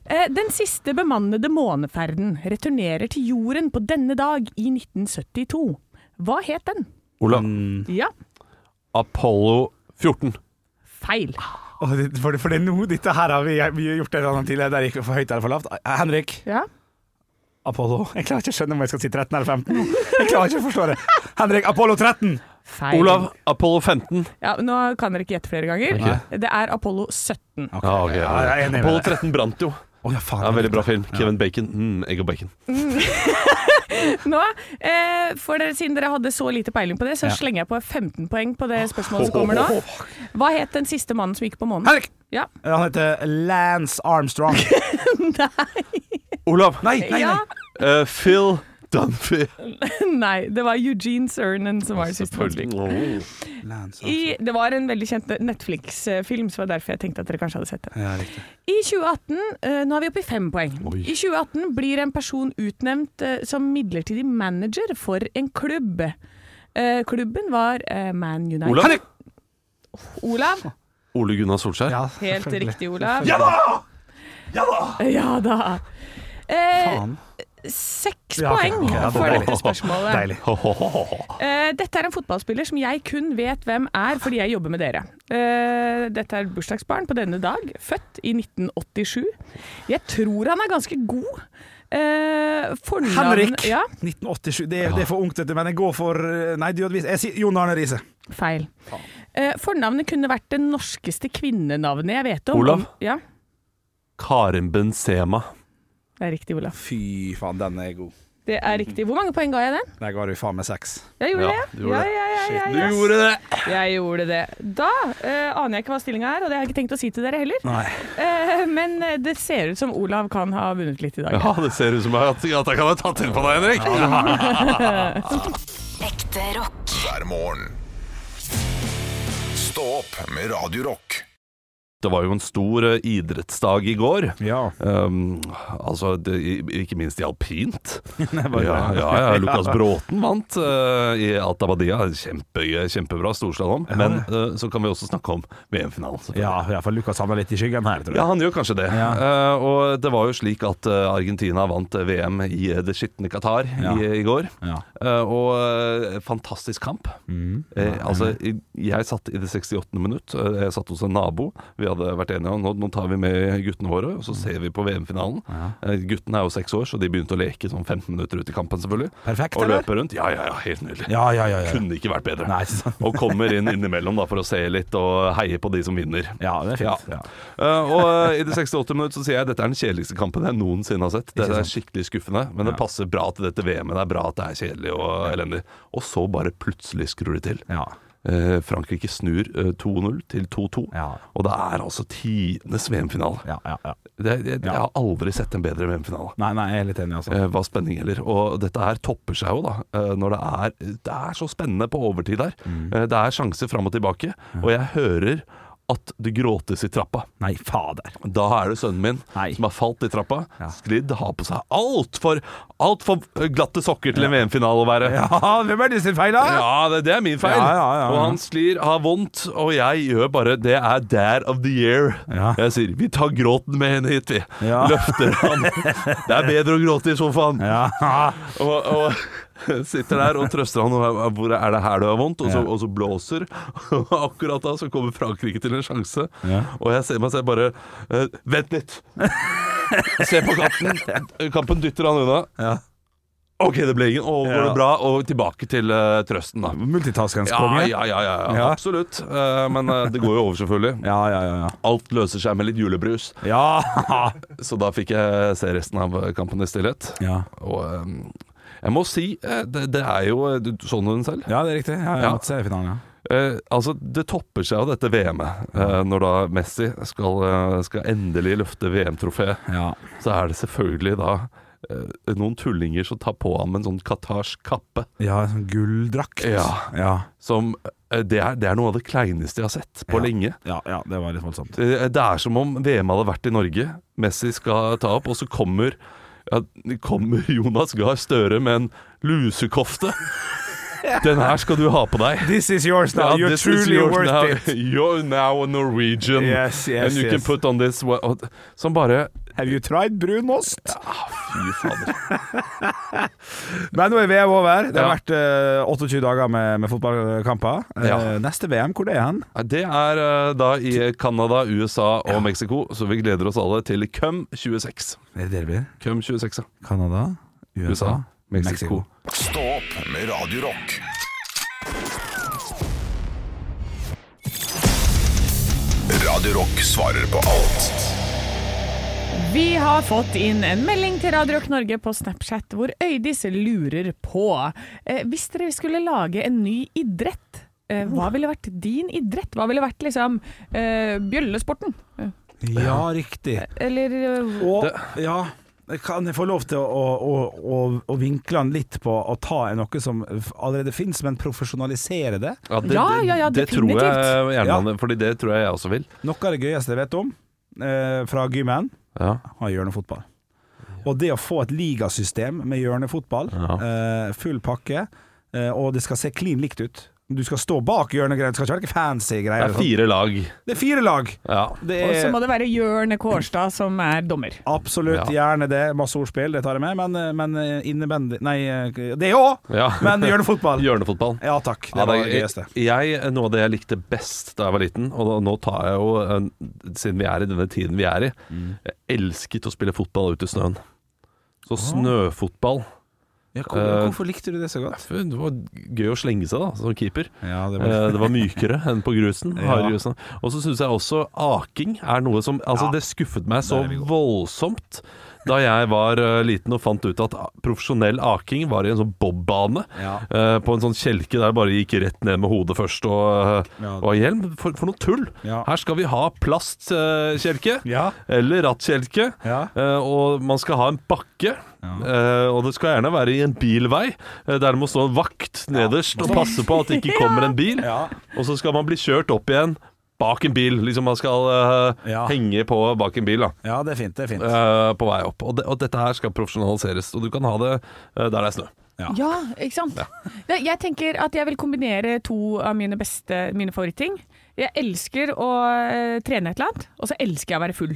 Speaker 5: Eh, Den siste bemannede måneferden returnerer til jorden på denne dag i 1972. Hva het den?
Speaker 2: Ola, Mm.
Speaker 5: Ja,
Speaker 2: Apollo 14.
Speaker 5: feil.
Speaker 3: Åh, det- For, for det er nå dette her har vi, vi har gjort en annen tidligere. Der gikk det for høyt eller for lavt. Eh, Henrik.
Speaker 5: Ja.
Speaker 3: Apollo Jeg klarer ikke å skjønne om jeg skal si 13 eller 15. Jeg klarer ikke å forstå det. Henrik, Apollo 13!
Speaker 5: feil.
Speaker 2: Olav, Apollo 15.
Speaker 5: Ja, nå kan dere ikke gjette flere ganger. Det er Apollo 17.
Speaker 2: Ja, ok, ja.
Speaker 3: jeg er enig med
Speaker 2: Apollo
Speaker 3: deg.
Speaker 2: 13 brant jo.
Speaker 3: Å, ja, faen.
Speaker 2: Ja, veldig bra film. Kevin Bacon. Mm, egg og bacon.
Speaker 5: Nå, eh, for dere, Siden dere hadde så lite peiling på det, så
Speaker 3: Ja.
Speaker 5: slenger jeg på 15 poeng på det spørsmålet som kommer nå. Hva het den siste mannen som gikk på månen?
Speaker 3: Henrik!
Speaker 5: Ja.
Speaker 3: Han heter Lance Armstrong.
Speaker 2: Olav!
Speaker 3: Nei, nei,
Speaker 5: ja.
Speaker 3: nei.
Speaker 2: Eh, Phil Dunphy.
Speaker 5: Nei, det var Eugene Cernan som var den siste. mannen som gikk.
Speaker 2: Selvfølgelig.
Speaker 3: Lance Armstrong.
Speaker 5: I, det var en veldig kjent Netflix-film, så det var derfor jeg tenkte at dere kanskje hadde sett det.
Speaker 3: Ja, riktig.
Speaker 5: I 2018, eh, nå er vi oppe i fem poeng. I 2018 blir en person utnevnt eh, som midlertidig manager for en klubb. Eh, klubben var eh, Man United.
Speaker 2: Olav!
Speaker 5: Olav.
Speaker 2: Ole Gunnar Solskjær.
Speaker 3: Ja,
Speaker 5: Helt
Speaker 3: selvfølgelig.
Speaker 5: riktig, Olav.
Speaker 3: Ja da!
Speaker 5: Ja da. Eh,
Speaker 3: Faen.
Speaker 5: seks
Speaker 3: Ja, ok,
Speaker 5: poeng
Speaker 3: ok, ja,
Speaker 5: for
Speaker 3: deilig.
Speaker 5: dette spørsmålet.
Speaker 3: Deilig.
Speaker 5: Eh, dette er en fotballspiller som jeg kun vet hvem er fordi jeg jobber med dere. Eh, dette er et bursdagsbarn på denne dag, født i 1987. Jeg tror han er ganske god. Eh, fornavn-
Speaker 3: Henrik!
Speaker 5: Ja,
Speaker 3: 1987. Det er, det er for ungt, dette, men jeg går for eh, Nei, dødvis. Jeg sier Jon Arne Riise.
Speaker 5: feil. Eh, fornavnet kunne vært det norskeste kvinnenavnet jeg vet om.
Speaker 2: Olav?
Speaker 5: Ja,
Speaker 2: Karim Benzema.
Speaker 5: det er riktig, Olav.
Speaker 3: Fy faen, den er god.
Speaker 5: Det er riktig. Hvor mange poeng ga jeg den?
Speaker 3: Der ga du faen meg seks.
Speaker 5: Jeg gjorde
Speaker 2: Ja,
Speaker 5: det.
Speaker 2: du gjorde
Speaker 5: ja,
Speaker 2: det.
Speaker 5: ja, ja, ja, ja.
Speaker 2: gjorde det!
Speaker 5: Jeg gjorde det. Da eh, aner jeg ikke hva stillinga er, og det har jeg ikke tenkt å si til dere heller.
Speaker 3: Nei.
Speaker 5: Eh, men eh, det ser ut som Olav kan ha vunnet litt i dag.
Speaker 2: Ja, det ser ut som at at jeg kan ha tatt inn på deg, Henrik. Ja.
Speaker 4: Ekte rock.
Speaker 1: hver morgen. Stå opp med Radio Rock.
Speaker 2: Det var jo en stor eh, idrettsdag i går.
Speaker 3: Ja.
Speaker 2: Um, altså, det, i- ikke minst i alpint.
Speaker 3: var-
Speaker 2: ja, ja, ja, Lukas Bråten vant eh, i Atabadia. Kjempegøy, kjempebra storslalåm. Men eh, så kan vi også snakke om VM-finalen. selvfølgelig.
Speaker 3: Ja, ja, for Lukas havner litt i skyggen her, tror jeg.
Speaker 2: Ja, han gjør kanskje det. Eh, og det var jo slik at eh, Argentina vant eh, VM i eh, det skitne Qatar
Speaker 3: Ja.
Speaker 2: i, i går.
Speaker 3: Ja. Mm.
Speaker 2: Eh, og eh, fantastisk kamp. Eh, altså, i- jeg satt i det 68. minutt. eh, jeg satt hos en nabo. Vi hadde vært enige om nå, nå tar vi med guttene våre,
Speaker 3: Mm.
Speaker 2: og så ser vi på VM-finalen. Eh, guttene er jo seks år, så de begynte å leke sånn 15 minutter ut i kampen, selvfølgelig.
Speaker 3: Perfekt,
Speaker 2: og
Speaker 3: eller?
Speaker 2: løpe rundt. Ja, ja, ja, helt nydelig.
Speaker 3: Ja, ja, ja. ja.
Speaker 2: Kunne ikke vært bedre.
Speaker 3: Nei, ikke sant.
Speaker 2: og kommer inn innimellom da, for å se litt og heie på de som vinner.
Speaker 3: ja det er fint.
Speaker 2: Ja.
Speaker 3: Ja.
Speaker 2: Eh, og eh, i det 68 minutt så sier jeg dette er den kjedeligste kampen jeg noensinne har sett. Det er
Speaker 3: Ikke sant.
Speaker 2: skikkelig skuffende, men det passer bra til dette VM-et. Det er bra at det er kjedelig og elendig. Og så bare plutselig skrur de til.
Speaker 3: Ja.
Speaker 2: Eh, Frankrike snur eh, 2-0 til 2-2,
Speaker 3: Ja.
Speaker 2: og det er altså tidenes VM-finale.
Speaker 3: Ja, ja, ja.
Speaker 2: Det- Jeg, jeg
Speaker 3: Ja.
Speaker 2: har aldri sett en bedre VM-finale.
Speaker 3: Nei, nei, jeg er litt enig, altså.
Speaker 2: Eh, hva spenning gjelder. Og dette her topper seg jo, da. eh, når det er, det er så spennende på overtid her.
Speaker 3: Mm.
Speaker 2: Eh, det er sjanser fram og tilbake, og jeg hører at det gråtes i trappa.
Speaker 3: Nei, fader.
Speaker 2: Da er det sønnen min
Speaker 3: Nei.
Speaker 2: som har falt i trappa,
Speaker 3: Ja.
Speaker 2: sklidd, har på seg altfor alt for glatte sokker til en VM-finale å være.
Speaker 3: Ja, hvem er det sin feil, da?
Speaker 2: Ja, det, det er min feil.
Speaker 3: Ja, ja, ja, ja.
Speaker 2: Og han sklir, har vondt, og jeg gjør bare Det er dad of the year.
Speaker 3: Ja.
Speaker 2: Jeg sier 'vi tar gråten med henne hit', vi.
Speaker 3: Ja.
Speaker 2: Løfter ham. Det er bedre å gråte i sofaen.
Speaker 3: Ja.
Speaker 2: Og, og sitter der og trøster han og hvor er det her du har vondt, og så, og så blåser. Og akkurat da så kommer Frankrike til en sjanse,
Speaker 3: Ja.
Speaker 2: og jeg ser meg selv bare eh, Vent litt! Se på kampen. Kampen dytter han unna.
Speaker 3: Ja.
Speaker 2: OK, det ble ingen. Og går
Speaker 3: Ja.
Speaker 2: det bra? Og tilbake til eh, trøsten, da.
Speaker 3: Multitaskens
Speaker 2: Ja,
Speaker 3: konge.
Speaker 2: ja, ja, ja, ja.
Speaker 3: Ja.
Speaker 2: absolutt. Eh, men eh, det går jo over, selvfølgelig.
Speaker 3: ja, ja, ja. ja.
Speaker 2: Alt løser seg med litt julebrus.
Speaker 3: Ja!
Speaker 2: Så da fikk jeg se resten av kampen i stillhet.
Speaker 3: Ja,
Speaker 2: Og ehm, jeg må si, eh, det, det er jo eh, du så den selv.
Speaker 3: ja det er riktig. Ja, jeg
Speaker 2: Ja.
Speaker 3: måtte se finalen, ja.
Speaker 2: Eh, altså, det topper seg av dette VM-et. Eh, når da Messi skal, eh, skal endelig løfte VM-trofé,
Speaker 3: ja.
Speaker 2: så er det selvfølgelig da eh, noen tullinger som tar på ham en sånn qatarsk kappe.
Speaker 3: Ja, sånn gulldrakt.
Speaker 2: Ja.
Speaker 3: ja.
Speaker 2: Som eh, det, er, det er noe av det kleineste jeg har sett på
Speaker 3: Ja.
Speaker 2: lenge.
Speaker 3: Ja, ja, det var litt voldsomt.
Speaker 2: Det, eh, det er som om VM hadde vært i Norge. Messi skal ta opp, og så kommer ja, kommer Jonas Gahr Støre med en lusekofte Den her skal du ha på deg.
Speaker 3: This is yours now.
Speaker 2: Ja,
Speaker 3: You're
Speaker 2: this is
Speaker 3: truly
Speaker 2: yours
Speaker 3: worth
Speaker 2: now.
Speaker 3: it.
Speaker 2: You're now a Norwegian.
Speaker 3: Yes, yes,
Speaker 2: and you can
Speaker 3: yes.
Speaker 2: put on this wa- og- Som bare
Speaker 3: Have you tried brunost?
Speaker 2: Fy fader.
Speaker 3: Men nå er VM over. Det har
Speaker 2: Ja.
Speaker 3: vært eh, 28 dager med, med fotballkamper. Eh,
Speaker 2: Ja.
Speaker 3: Neste VM, hvor det er hen?
Speaker 2: Nei, Det er eh, da i Canada, USA og Mexico, så vi gleder oss alle til Cum 26.
Speaker 3: Er det det det blir?
Speaker 2: Cum 26, ja.
Speaker 3: Canada, USA,
Speaker 2: USA, Mexico.
Speaker 1: Stå opp med Radio Rock. Radio Rock svarer på alt
Speaker 5: Vi har fått inn en melding til Radio Rock Norge på Snapchat hvor Øydis lurer på eh, Hvis dere skulle lage en ny idrett, eh, hva ville vært din idrett? Hva ville vært liksom eh, bjøllesporten? Eh,
Speaker 3: Ja, riktig.
Speaker 5: Eller eh,
Speaker 3: Og ja kan jeg få lov til å, å, å, å vinkle den litt på å ta noe som allerede finnes, men profesjonalisere det?
Speaker 2: det,
Speaker 5: Ja, ja, ja,
Speaker 2: det, det tror jeg
Speaker 5: definitivt.
Speaker 2: gjerne han Fordi det tror jeg jeg også vil.
Speaker 3: Noe av det gøyeste jeg vet om eh, fra gymmen,
Speaker 2: Ja.
Speaker 3: har hjørnefotball. Og det å få et ligasystem med hjørnefotball, eh, full pakke, eh, og det skal se klin likt ut. Du skal stå bak hjørnegreiene, det skal ikke være noe fancy
Speaker 2: Det
Speaker 3: greier.
Speaker 2: er
Speaker 3: og sånt.
Speaker 2: fire lag.
Speaker 3: Det er fire lag!
Speaker 2: Ja.
Speaker 3: Det
Speaker 5: Og så
Speaker 3: er
Speaker 5: må det være Jørn Kårstad som er dommer.
Speaker 3: absolutt
Speaker 2: Ja.
Speaker 3: gjerne det. Masse ordspill, det tar jeg med, men, eh, men eh, innebendig Nei, eh, det òg!
Speaker 2: Ja.
Speaker 3: Men hjørnefotball.
Speaker 2: Hjørnefotball.
Speaker 3: Ja takk, det
Speaker 2: Ja,
Speaker 3: var
Speaker 2: det,
Speaker 3: det gøyeste.
Speaker 2: jeg, noe av det jeg likte best da jeg var liten, og da, nå tar jeg jo eh, Siden vi er i denne tiden vi er i, jeg elsket å spille fotball ute i snøen. Så snøfotball
Speaker 3: Eh,
Speaker 2: hvor- hvorfor
Speaker 3: likte du det så godt?
Speaker 2: Det var gøy å slenge seg, da, som keeper.
Speaker 3: Ja, det var
Speaker 2: Eh, Det var mykere enn på grusen.
Speaker 3: Ja.
Speaker 2: hardere grusen. Og så syns jeg også aking er noe som Altså,
Speaker 3: Ja.
Speaker 2: det skuffet meg så
Speaker 3: Der er vi gode.
Speaker 2: voldsomt da jeg var eh, liten og fant ut at profesjonell aking var i en sånn bobbane.
Speaker 3: Ja.
Speaker 2: eh, På en sånn kjelke der jeg bare gikk rett ned med hodet først og, eh,
Speaker 3: Ja.
Speaker 2: og hjelm. For, for noe tull!
Speaker 3: Ja.
Speaker 2: Her skal vi ha eh, plastkjelke.
Speaker 3: Ja.
Speaker 2: Eller rattkjelke.
Speaker 3: Ja.
Speaker 2: Eh, og man skal ha en bakke. Eh, og det skal gjerne være i en bilvei, eh, der det må stå en vakt nederst og passe på at det ikke kommer en bil.
Speaker 3: Ja.
Speaker 2: Og så skal man bli kjørt opp igjen bak en bil. Liksom man skal eh,
Speaker 3: Ja.
Speaker 2: henge på bak en bil da,
Speaker 3: ja, det er fint. Det er fint.
Speaker 2: eh, på vei opp. Og, det, og dette her skal profesjonaliseres. Og du kan ha det eh, der det er snø.
Speaker 3: Ja.
Speaker 5: Ja, ikke sant? Nei, Jeg tenker at jeg vil kombinere to av mine beste mine favoritting. Jeg elsker å eh, trene et eller annet, og så elsker jeg å være full.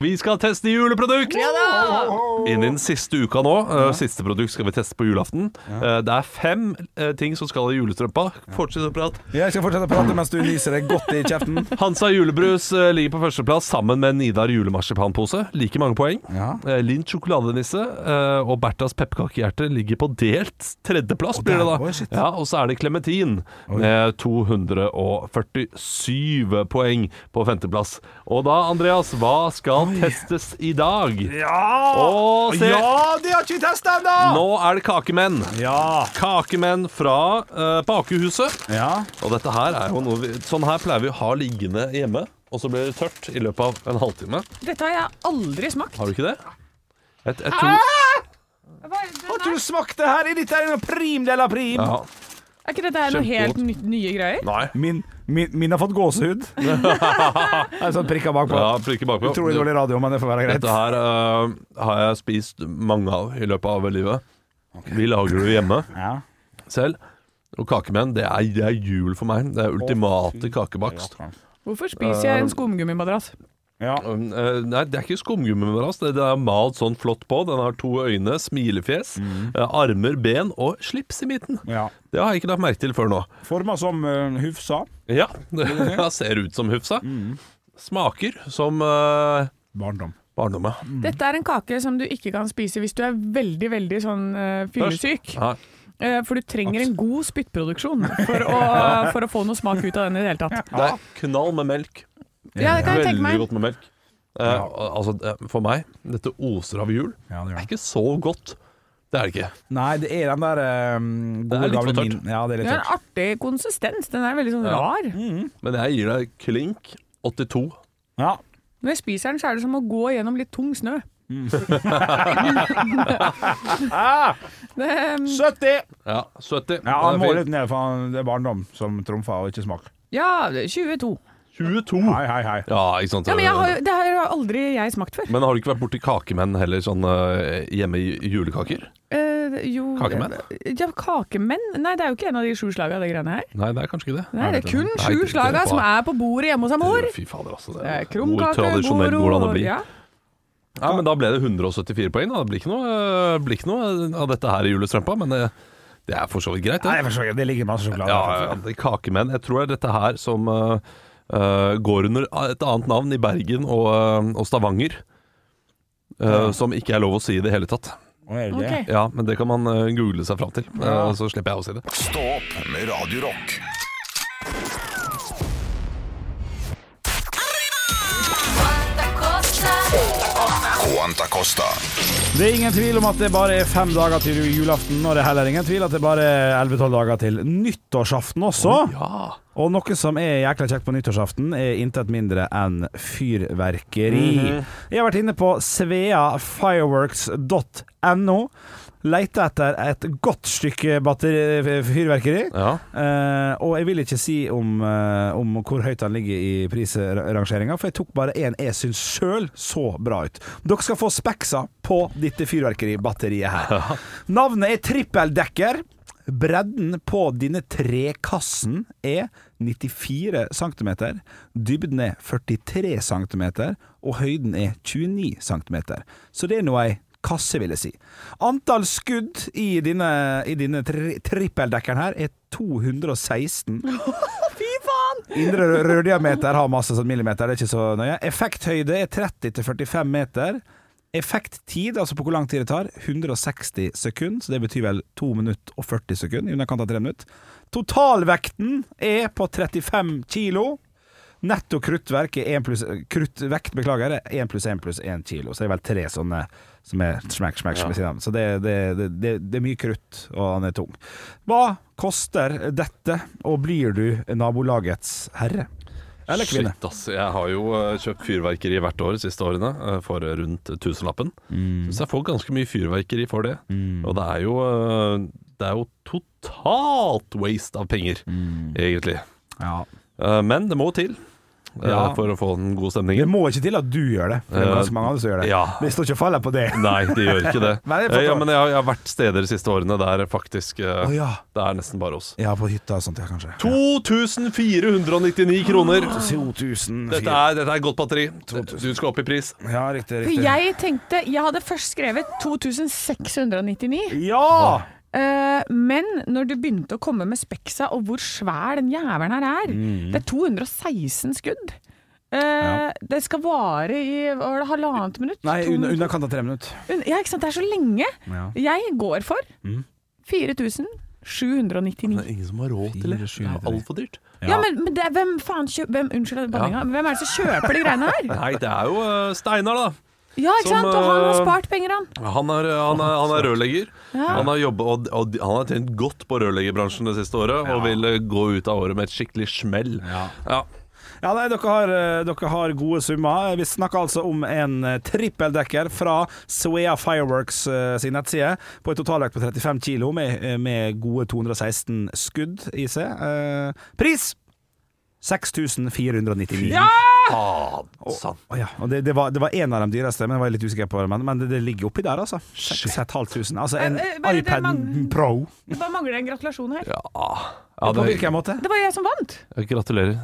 Speaker 2: Vi skal teste juleprodukt! Innen siste uka nå. eh, Siste produkt skal vi teste på julaften. Eh, det er fem eh, ting som skal i julestrømpa. Fortsett å prate.
Speaker 3: Jeg skal fortsette å prate mens du nyser deg godt i kjeften.
Speaker 2: Hansa julebrus eh, ligger på førsteplass sammen med Nidar julemarsipanpose. Like mange poeng.
Speaker 3: Ja.
Speaker 2: Eh, Lind sjokoladenisse eh, og Berthas pepperkakehjerte ligger på delt tredjeplass, blir det da.
Speaker 3: der, oi, shit.
Speaker 2: ja, og så er det klementin med 247 poeng på femteplass. Og da, Andreas, hva skal testes i dag?
Speaker 3: Ja!
Speaker 2: Å, se!
Speaker 3: Ja, det har ikke vi testa ennå!
Speaker 2: Nå er det kakemenn.
Speaker 3: Ja.
Speaker 2: Kakemenn fra eh, Bakehuset.
Speaker 3: ja.
Speaker 2: Og dette her er jo noe vi, Sånn her pleier vi å ha liggende hjemme, og så blir det tørt i løpet av en halvtime.
Speaker 5: Dette har jeg aldri smakt.
Speaker 2: Har du ikke det? Jeg, jeg tror
Speaker 5: Hva- den
Speaker 3: Har
Speaker 5: er-
Speaker 3: ikke du smakt det her? Er dette en prim de la prim?
Speaker 2: ja.
Speaker 5: Er ikke dette her noe helt
Speaker 2: Kjempegodt.
Speaker 5: nytt, nye greier?
Speaker 2: Nei.
Speaker 3: Min, min, min har fått gåsehud. Det er sånn prikker bakpå.
Speaker 2: Ja, prikker bakpå.
Speaker 3: Utrolig dårlig radio, men det får være greit.
Speaker 2: Dette her eh, har jeg spist mange av i løpet av livet. Vi lager det hjemme
Speaker 3: Ja.
Speaker 2: selv. Og kakemenn, det er, det er jul for meg. Det er ultimate kakebakst.
Speaker 5: Hvorfor spiser jeg
Speaker 2: Eh,
Speaker 5: en skumgummimadrass?
Speaker 3: Ja.
Speaker 2: Um, eh, nei, det er ikke skumgummimadrass. Det det er malt sånn flott på. Den har to øyne, smilefjes, eh, armer, ben og slips i midten.
Speaker 3: ja.
Speaker 2: Det har jeg ikke lagt merke til før nå.
Speaker 3: Forma som eh, Hufsa.
Speaker 2: Ja, Mm. det det ser ut som Hufsa. Smaker som uh,
Speaker 3: Barndom.
Speaker 2: barndommen.
Speaker 5: Dette er en kake som du ikke kan spise hvis du er veldig, veldig sånn eh, fyllesyk.
Speaker 2: Ja.
Speaker 5: Eh, for du trenger en god spyttproduksjon for å, for å få noe smak ut av den i det hele tatt.
Speaker 2: Det er knall med melk.
Speaker 5: Ja, det kan jeg tenke
Speaker 2: Veldig
Speaker 5: meg.
Speaker 2: godt med melk. Eh, altså, eh, for meg, dette oser av jul.
Speaker 3: Ja,
Speaker 2: Det
Speaker 3: det gjør
Speaker 2: er
Speaker 3: det.
Speaker 2: ikke så godt. Det er det ikke.
Speaker 3: Nei, det er den der
Speaker 2: Det er
Speaker 3: eh, gode
Speaker 2: litt
Speaker 3: gamle
Speaker 2: for tørt.
Speaker 3: min... Ja, det er
Speaker 5: Den
Speaker 3: litt
Speaker 5: har en
Speaker 3: tørt.
Speaker 5: artig konsistens. Den er veldig sånn
Speaker 2: Ja. Mm.
Speaker 5: rar.
Speaker 2: Men jeg gir deg klink 82.
Speaker 3: Ja.
Speaker 5: Når jeg spiser den, så er det som å gå gjennom litt tung snø.
Speaker 2: Mm. Ah!
Speaker 5: det,
Speaker 3: 70!
Speaker 2: Ja, 70.
Speaker 3: Ja, han
Speaker 2: Det
Speaker 3: må
Speaker 2: er
Speaker 3: litt ned, for han- det er barndom som trumfer, og ikke smak.
Speaker 5: ja, 22.
Speaker 2: fint. 22!
Speaker 3: Hei, hei, hei.
Speaker 2: Ja, ikke sant.
Speaker 5: Ja, men jeg har, det her har aldri jeg smakt før.
Speaker 2: Men har du ikke vært borti kakemenn heller, sånn eh, hjemme i julekaker?
Speaker 5: Eh, jo, eh,
Speaker 2: Kakemenn?
Speaker 5: Ja, kakemenn? Nei, det er jo ikke en av de sju slaga, det greiene her.
Speaker 2: Nei, det er kanskje ikke det.
Speaker 5: Nei, det er kun
Speaker 2: Nei,
Speaker 5: sju
Speaker 2: det- det er
Speaker 5: slaga
Speaker 2: bare-
Speaker 5: som er på bordet hjemme hos mor.
Speaker 2: Fy fader, altså. Det
Speaker 5: Det er
Speaker 2: er hvor
Speaker 5: Krumkake,
Speaker 2: tradisjonell
Speaker 5: goro
Speaker 2: hvordan det blir.
Speaker 5: ja.
Speaker 2: Ja, men da ble det 174 poeng. Da. Det blir ikke noe, øh, blir ikke noe av dette her i julestrømpa, men det, det er for så vidt greit.
Speaker 3: Nei, jeg
Speaker 2: Det.
Speaker 3: forstår ikke. Det ligger masse
Speaker 2: Ja,
Speaker 3: sjokolade
Speaker 2: ja, ja, det er kakemenn. Jeg tror det er dette her som øh, øh, går under et annet navn i Bergen og, øh, og Stavanger. øh, som ikke er lov å si i det hele tatt.
Speaker 3: Å, er det det?
Speaker 5: Ok.
Speaker 2: Ja, Men det kan man øh, google seg fram til. øh, så slipper jeg å si det.
Speaker 1: Stå opp med Radio Rock. Quanta Costa.
Speaker 3: Det er ingen tvil om at det bare er fem dager til julaften, og det er heller ingen tvil at det bare er 11-12 dager til nyttårsaften også.
Speaker 2: Ja,
Speaker 3: Og noe som er jækla kjekt på nyttårsaften, er intet mindre enn fyrverkeri. Jeg har vært inne på sveafireworks.no. Leita etter et godt stykke batteri, fyrverkeri.
Speaker 2: ja.
Speaker 3: Eh, og jeg vil ikke si om, eh, om hvor høyt han ligger i prisrangeringa, for jeg tok bare en jeg syns sjøl så bra ut. Dere skal få speksa på dette fyrverkeribatteriet her. Navnet er trippeldekker. Bredden på denne trekassen er 94 cm, dybden er 43 cm, og høyden er 29 cm. Så det er nå ei kasse, vil jeg si. Antall skudd i denne, i denne tri trippeldekkeren her er 216.
Speaker 5: Fy faen!
Speaker 3: Indre rø- rørdiameter har masse sånn millimeter, det er ikke så nøye. Effekthøyde er 30-45 meter. Effekttid, altså på hvor lang tid det tar, 160 sekunder, så det betyr vel 2 minutter og 40 sekunder, i underkant av 3 minutter. Totalvekten er på 35 kilo. Netto kruttverk er 1 pluss Kruttvekt, beklager, er 1 pluss 1 pluss 1 kilo. Så det er vel tre sånne som er smekk, smekk, smekk ved siden av. Så det, det, det, det, det er mye krutt, og han er tung. Hva koster dette, og blir du nabolagets herre? Eller kvinne?
Speaker 2: Shit, ass. Jeg har jo eh, kjøpt fyrverkeri hvert år de siste årene eh, for rundt tusenlappen. Syns jeg får ganske mye fyrverkeri for det. Og det er jo eh, Det er jo totalt waste av penger, egentlig.
Speaker 3: Ja.
Speaker 2: Eh, Men det må til eh,
Speaker 3: Ja.
Speaker 2: for å få den gode
Speaker 3: Det
Speaker 2: stemningen.
Speaker 3: må ikke til at du gjør det, for det er ganske mange andre som gjør det.
Speaker 2: Ja.
Speaker 3: Det står ikke og faller på det.
Speaker 2: Nei, det gjør ikke det.
Speaker 3: Nei, det forstår
Speaker 2: Eh, ja,
Speaker 3: jeg.
Speaker 2: men jeg har, jeg har vært steder de siste årene der faktisk eh,
Speaker 3: Å ja.
Speaker 2: Det er nesten bare oss.
Speaker 3: Ja, på hytta og sånt, ja, kanskje.
Speaker 2: 2499 kroner!
Speaker 3: 2000
Speaker 2: Dette er, dette er godt batteri. Du skal opp i pris.
Speaker 3: Ja, riktig,
Speaker 5: For
Speaker 3: riktig.
Speaker 5: jeg tenkte Jeg hadde først skrevet 2699,
Speaker 3: Ja!
Speaker 5: eh, men når du begynte å komme med speksa og hvor svær den jævelen her er
Speaker 2: Mm.
Speaker 5: Det er 216 skudd. Eh, Det skal vare i hva var det, halvannet minutt?
Speaker 3: Nei,
Speaker 5: To
Speaker 3: under,
Speaker 5: minutter?
Speaker 3: underkant av tre minutter.
Speaker 5: Un- Ja, ikke sant. Det er så lenge.
Speaker 3: Ja.
Speaker 5: Jeg går for
Speaker 2: Mm.
Speaker 5: 4799.
Speaker 2: Det er ingen som har råd til det. Det er altfor dyrt.
Speaker 5: Ja, men, men det er, hvem faen kjøper hvem, Unnskyld banninga. Hvem er det som kjøper de greiene her?
Speaker 2: Nei, det er jo eh, Steinar, da.
Speaker 5: Ja, ikke
Speaker 2: Som,
Speaker 5: sant? Og han har
Speaker 2: øh,
Speaker 5: spart penger, han.
Speaker 2: Han er, eh, han er, han er rørlegger.
Speaker 5: Ja.
Speaker 2: Han har jobbet, og, og han har tjent godt på rørleggerbransjen det siste året, og vil eh, gå ut av året med et skikkelig smell. Ja.
Speaker 3: Ja, nei, dere har, eh, dere har gode summer. Vi snakker altså om en eh, trippeldekker fra Svea Fireworks eh, sin nettside, på en totalvekt på 35 kilo med, eh, med gode 216 skudd i seg. Eh, Pris 6499. Ja!
Speaker 2: Faen.
Speaker 3: Å ja, og det, det, var, det var en av de dyreste, men jeg var litt usikker på det. Men, men det, det ligger oppi der, altså. 6500. Altså en
Speaker 5: Eh, eh, bare det
Speaker 3: iPad
Speaker 5: mang-
Speaker 3: Pro.
Speaker 5: Det bare mangler en gratulasjon her.
Speaker 2: Ja, Ah. ja
Speaker 3: På
Speaker 2: det,
Speaker 3: hvilken måte?
Speaker 5: Det var jeg som vant!
Speaker 2: Gratulerer.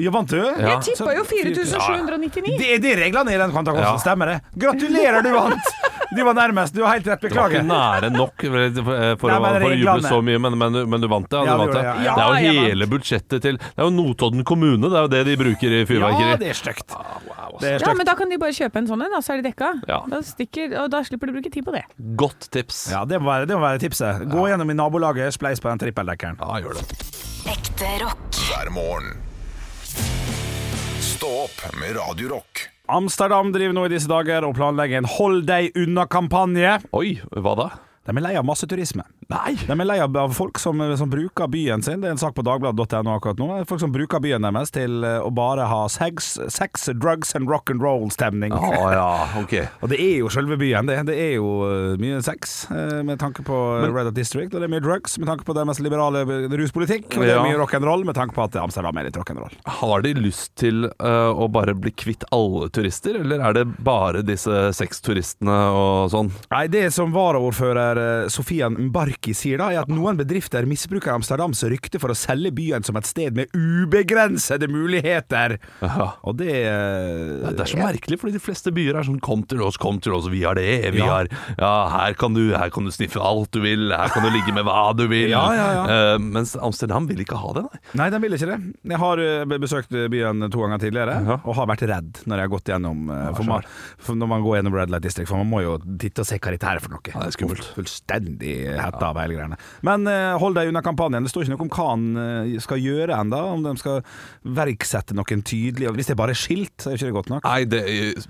Speaker 3: Ja, vant du?
Speaker 2: Ja.
Speaker 5: Jeg tippa jo 4799.
Speaker 3: Det er de reglene i den kontakosten,
Speaker 2: Ja.
Speaker 3: stemmer det? Gratulerer, du vant! Du var nærmest. Du har helt rett,
Speaker 2: Det var ikke
Speaker 3: beklager.
Speaker 2: nære nok for, for, å,
Speaker 3: Nei, men
Speaker 2: for å juble
Speaker 3: reglene.
Speaker 2: så mye, men, men, du- men du vant det. Ja, du
Speaker 3: Ja, det
Speaker 2: vant det.
Speaker 3: gjorde jeg,
Speaker 5: ja.
Speaker 2: det er
Speaker 5: Ja,
Speaker 2: jo
Speaker 5: jeg
Speaker 2: hele budsjettet til Det er jo Notodden kommune, det er jo det de bruker i
Speaker 3: Ja,
Speaker 2: fyrverkeri.
Speaker 3: det er stygt.
Speaker 2: Ah,
Speaker 3: Det er
Speaker 5: Ja,
Speaker 3: stygt.
Speaker 5: men da kan de bare kjøpe en sånn en, da, så er de dekka.
Speaker 2: Ja.
Speaker 5: Da stikker, og da slipper de å bruke tid på det.
Speaker 2: Godt tips.
Speaker 3: Ja, det må være, det må være tipset. Gå gjennom i nabolaget, spleis på den trippeldekkeren.
Speaker 2: Ja, gjør det.
Speaker 4: Ekte rock.
Speaker 1: hver morgen. Stå opp med Radio Rock.
Speaker 3: Amsterdam driver nå i disse dager og planlegger en hold deg unna-kampanje.
Speaker 2: Oi, hva da?
Speaker 3: De er lei av masseturisme.
Speaker 2: Nei!
Speaker 3: De er lei av av folk som, som bruker byen sin. Det er en sak på dagbladet.no akkurat nå. Folk som bruker byen deres til eh, å bare ha sex, sex drugs and rock and roll-stemning.
Speaker 2: Å ja, ok.
Speaker 3: Og det er jo selve byen, det. Det er jo eh, mye sex eh, med tanke på eh, Red Hot District, og det er mye drugs med tanke på deres liberale eh, ruspolitikk, og det er
Speaker 2: Ja.
Speaker 3: mye rock'n'roll med tanke på at Amsterdam er litt rock'n'roll.
Speaker 2: Har de lyst til eh, å bare bli kvitt alle turister, eller er det bare disse sexturistene og sånn?
Speaker 3: Nei, det som varaordfører eh, Sofian Mbarki sier da, er at noen bedrifter misbruker Amsterdams rykte for å selge byen som et sted med ubegrensede muligheter.
Speaker 2: Ja.
Speaker 3: Og det eh,
Speaker 2: Det er så merkelig, fordi de fleste byer er sånn 'kom til oss, kom til oss, vi har det, vi
Speaker 3: Ja.
Speaker 2: har Ja, her kan, du, her kan du sniffe alt du vil, her kan du ligge med hva du vil.
Speaker 3: Ja, ja,
Speaker 2: Eh, mens Amsterdam vil ikke ha det, nei.
Speaker 3: Nei, de vil ikke det. Jeg har eh, be- besøkt byen to ganger tidligere,
Speaker 2: Ja.
Speaker 3: og har vært redd når jeg har gått gjennom eh, for
Speaker 2: så
Speaker 3: man, for Når man går gjennom Red Light District, for man må jo titte og se hva dette her er for noe.
Speaker 2: det er skummelt.
Speaker 3: Fullstendig hetta av hele greiene. Men eh, hold deg unna kampanjen. Det står ikke noe om hva han eh, skal gjøre enda om de skal verksette noen tydelig Hvis det er bare skilt, så er jo ikke det godt nok.
Speaker 2: Nei, det,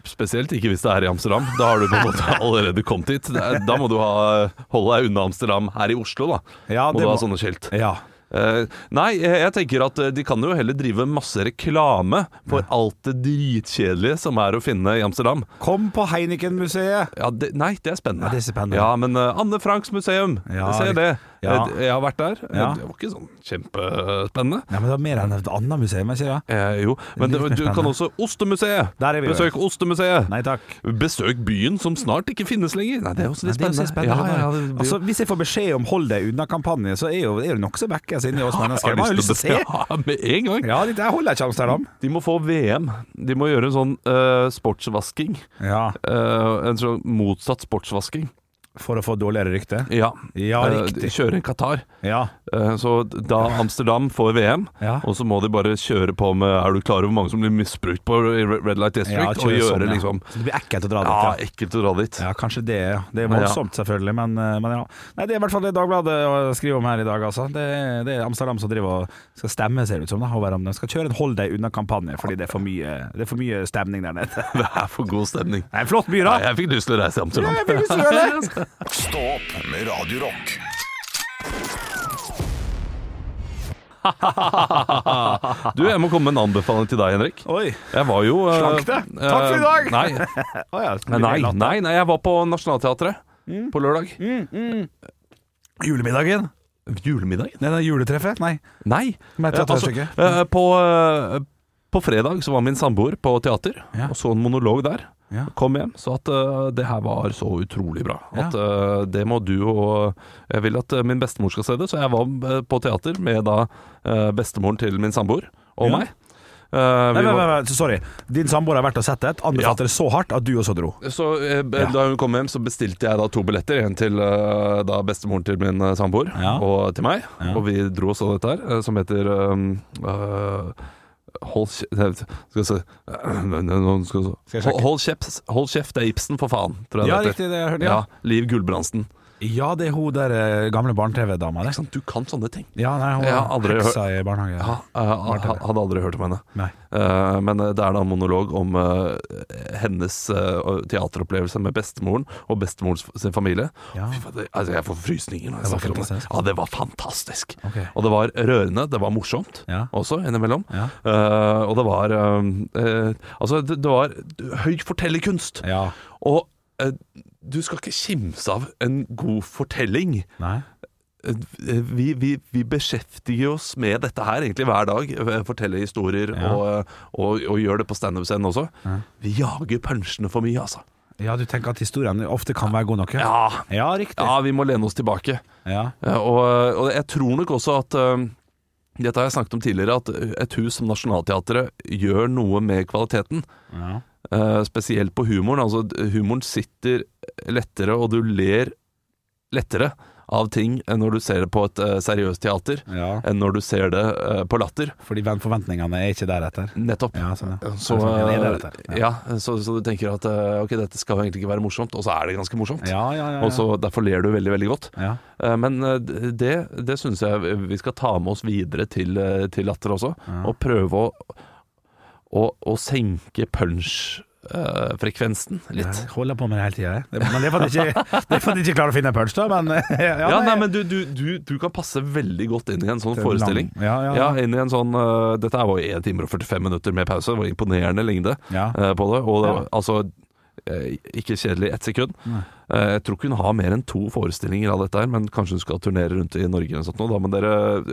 Speaker 2: spesielt ikke hvis det er i Amsterdam. Da har du på en måte allerede kommet dit. Det er- Da må du ha, holde deg unna Amsterdam her i Oslo, da.
Speaker 3: Ja,
Speaker 2: må
Speaker 3: det
Speaker 2: du ha
Speaker 3: må-
Speaker 2: sånne skilt.
Speaker 3: Ja.
Speaker 2: Eh, nei, jeg jeg tenker at eh, de kan jo heller drive masse reklame for alt det dritkjedelige som er å finne i Amsterdam.
Speaker 3: Kom på Heineken-museet!
Speaker 2: Ja, det, nei, det er spennende.
Speaker 3: Ja, det er spennende.
Speaker 2: Ja, men eh, Anne Franks museum,
Speaker 3: Ja,
Speaker 2: se
Speaker 3: det-
Speaker 2: det.
Speaker 3: ja.
Speaker 2: Eh, d- Jeg har vært der. Eh,
Speaker 3: Ja.
Speaker 2: Det var ikke sånn kjempespennende.
Speaker 3: Nei, men det er mer enn et annet museum, er ikke det?
Speaker 2: Eh, jo, men
Speaker 3: Det
Speaker 2: det,
Speaker 3: er litt mer
Speaker 2: du kan også Ostemuseet.
Speaker 3: Der er vi jo.
Speaker 2: Besøk Ostemuseet.
Speaker 3: Nei takk.
Speaker 2: Besøk byen som snart ikke finnes lenger. Nei, det er også litt
Speaker 3: Nei, det
Speaker 2: spennende.
Speaker 3: er jo så spennende.
Speaker 2: Ja, ja, ja, det blir
Speaker 3: altså,
Speaker 2: jo-
Speaker 3: hvis jeg får beskjed om 'hold deg unna' kampanje, så er jo, er det nokså vekkes inni oss mennesker. Man har jo lyst til å se.
Speaker 2: Ja, med en gang.
Speaker 3: Ja, dette her holder jeg ikke Amsterdam.
Speaker 2: De må få VM. De må gjøre en sånn eh, sportsvasking.
Speaker 3: Ja,
Speaker 2: Eh, en sånn motsatt sportsvasking.
Speaker 3: For å få dårligere rykte.
Speaker 2: Ja,
Speaker 3: Ja,
Speaker 2: Eh,
Speaker 3: riktig.
Speaker 2: de Kjøre i Qatar.
Speaker 3: Ja.
Speaker 2: Eh, Så da Amsterdam får VM,
Speaker 3: Ja.
Speaker 2: og så må de bare kjøre på med Er du klar over hvor mange som blir misbrukt på i Re- Red Light District?
Speaker 3: Ja,
Speaker 2: og
Speaker 3: kjøre
Speaker 2: gjøre
Speaker 3: sånn, ja.
Speaker 2: liksom
Speaker 3: Så det blir ekkelt å dra dit,
Speaker 2: Ja,
Speaker 3: ja.
Speaker 2: ekkelt å dra dit.
Speaker 3: Ja, kanskje det. ja. Det er voldsomt, selvfølgelig, men, eh, men ja. Nei, det er i hvert fall det Dagbladet eh, skriver om her i dag, altså. Det, er- det er Amsterdam som driver og skal stemme, ser det ut som, da, over om de skal kjøre en hold deg unna-kampanje, fordi det er, for mye, det er for mye stemning der nede.
Speaker 2: Det er for god stemning.
Speaker 3: Det er en flott by, da!
Speaker 2: Nei, jeg fikk lyst til å reise til Amsterdam.
Speaker 3: Jeg fikk lyst til å gjøre det.
Speaker 1: Stå opp med Radio Rock.
Speaker 2: Du, jeg må komme med en anbefaling til deg, Henrik.
Speaker 3: Oi.
Speaker 2: Jeg var jo eh,
Speaker 3: Slank deg. Takk for i dag.
Speaker 2: eh, Nei,
Speaker 3: Å ja, så blir Mm. det
Speaker 2: nei,
Speaker 3: latter.
Speaker 2: nei, nei jeg var på Nationaltheatret på lørdag.
Speaker 3: Julemiddagen?
Speaker 2: Julemiddagen?
Speaker 3: Nei, det er juletreffet? Nei.
Speaker 2: Nei.
Speaker 3: Men
Speaker 2: Eh, altså,
Speaker 3: teaterstykket.
Speaker 2: eh, på, eh, på fredag så var min samboer på teater
Speaker 3: Ja.
Speaker 2: og så en monolog der.
Speaker 3: Ja.
Speaker 2: Kom hjem, sa at eh, det her var så utrolig bra.
Speaker 3: Ja.
Speaker 2: At eh, det må du og Jeg vil at eh, min bestemor skal se det, så jeg var eh, på teater med da eh, bestemoren til min samboer og
Speaker 3: Ja.
Speaker 2: meg. Eh,
Speaker 3: Nei,
Speaker 2: vi
Speaker 3: nei,
Speaker 2: var-
Speaker 3: nei, nei, sorry. Din samboer har vært og sett det. Anbefalte det så hardt at du også dro.
Speaker 2: Så eh, b-
Speaker 3: Ja.
Speaker 2: da hun kom hjem, så bestilte jeg da to billetter. En til eh, da bestemoren til min eh, samboer,
Speaker 3: Ja.
Speaker 2: og til meg.
Speaker 3: Ja.
Speaker 2: Og vi dro og så dette her, eh, som heter um, eh, Hold kjeft Skal vi se Noen skal så-
Speaker 3: Skal jeg sjekke?
Speaker 2: Hold, hold, kjeft, hold kjeft, det er Ibsen, for faen, tror jeg det heter.
Speaker 3: det har jeg hørt,
Speaker 2: Ja, Liv Gulbrandsen.
Speaker 3: Ja, det er hun der eh, gamle barne-TV-dama, det.
Speaker 2: Ikke sant? Du kan sånne ting.
Speaker 3: Ja, nei, hun
Speaker 2: Jeg har aldri
Speaker 3: heksa i barnehage.
Speaker 2: Ja, eh, ha- hadde aldri hørt om henne.
Speaker 3: Nei.
Speaker 2: Eh, men det er da en monolog om eh, hennes eh, teateropplevelse med bestemoren og bestemors sin familie.
Speaker 3: Ja.
Speaker 2: Fy faen, det- altså, jeg får frysninger når jeg
Speaker 3: Det var
Speaker 2: snakker om det.
Speaker 3: fantastisk.
Speaker 2: Ja, det var fantastisk.
Speaker 3: Ok.
Speaker 2: Og det var rørende, det var morsomt
Speaker 3: Ja.
Speaker 2: også, innimellom.
Speaker 3: Ja.
Speaker 2: Eh, og det var eh, eh, Altså, det, det var høy fortellerkunst.
Speaker 3: Ja.
Speaker 2: Og eh, du skal ikke kimse av en god fortelling
Speaker 3: Nei.
Speaker 2: eh, vi, vi, vi beskjeftiger oss med dette her egentlig hver dag. eh, Forteller historier
Speaker 3: Ja.
Speaker 2: og, og, og gjør det på standup-scenen også. Vi jager punchene for mye, altså.
Speaker 3: Ja, du tenker at historien ofte kan være god nok?
Speaker 2: Ja,
Speaker 3: ja riktig.
Speaker 2: ja vi må lene oss tilbake.
Speaker 3: Ja.
Speaker 2: Eh, Og, og jeg tror nok også at eh, Dette har jeg snakket om tidligere, at et hus som Nationaltheatret gjør noe med kvaliteten.
Speaker 3: Ja.
Speaker 2: Eh, spesielt på humoren. Altså, d- humoren sitter lettere, og du ler lettere av ting enn når du ser det på et eh, seriøst teater.
Speaker 3: ja.
Speaker 2: enn når du ser det eh, på latter.
Speaker 3: Fordi ven- forventningene er ikke deretter.
Speaker 2: Nettopp.
Speaker 3: Ja, sånn, ja.
Speaker 2: Så,
Speaker 3: Sånn, ja, det er
Speaker 2: eh,
Speaker 3: deretter.
Speaker 2: ja, så, så du tenker at eh, ok, dette skal jo egentlig ikke være morsomt, og så er det ganske morsomt.
Speaker 3: Ja, ja, ja. ja.
Speaker 2: Og så Derfor ler du veldig veldig godt.
Speaker 3: ja.
Speaker 2: Eh, Men eh, det, det syns jeg vi skal ta med oss videre til, eh, til latter også. Og prøve å, å, å senke punch-frekvensen litt.
Speaker 3: Jeg holder på med det hele tida, jeg. Det- Men det er fordi jeg ikke, det er fordi jeg ikke klarer å finne en punch, da. Men ja,
Speaker 2: Ja, nei, men du, du, du, du kan passe veldig godt inn i en sånn
Speaker 3: Det er
Speaker 2: forestilling.
Speaker 3: lang- ja, ja,
Speaker 2: ja,
Speaker 3: ja.
Speaker 2: inn i en sånn øh, Dette her var jo 1 time og 45 minutter med pause. Det var imponerende lengde
Speaker 3: Ja.
Speaker 2: øh, på det. Og det var,
Speaker 3: Ja.
Speaker 2: altså eh, ikke kjedelig i ett sekund.
Speaker 3: Nei.
Speaker 2: Eh, jeg tror ikke hun har mer enn to forestillinger av dette her, men kanskje hun skal turnere rundt i Norge eller noe sånt. nå, Da må dere eh,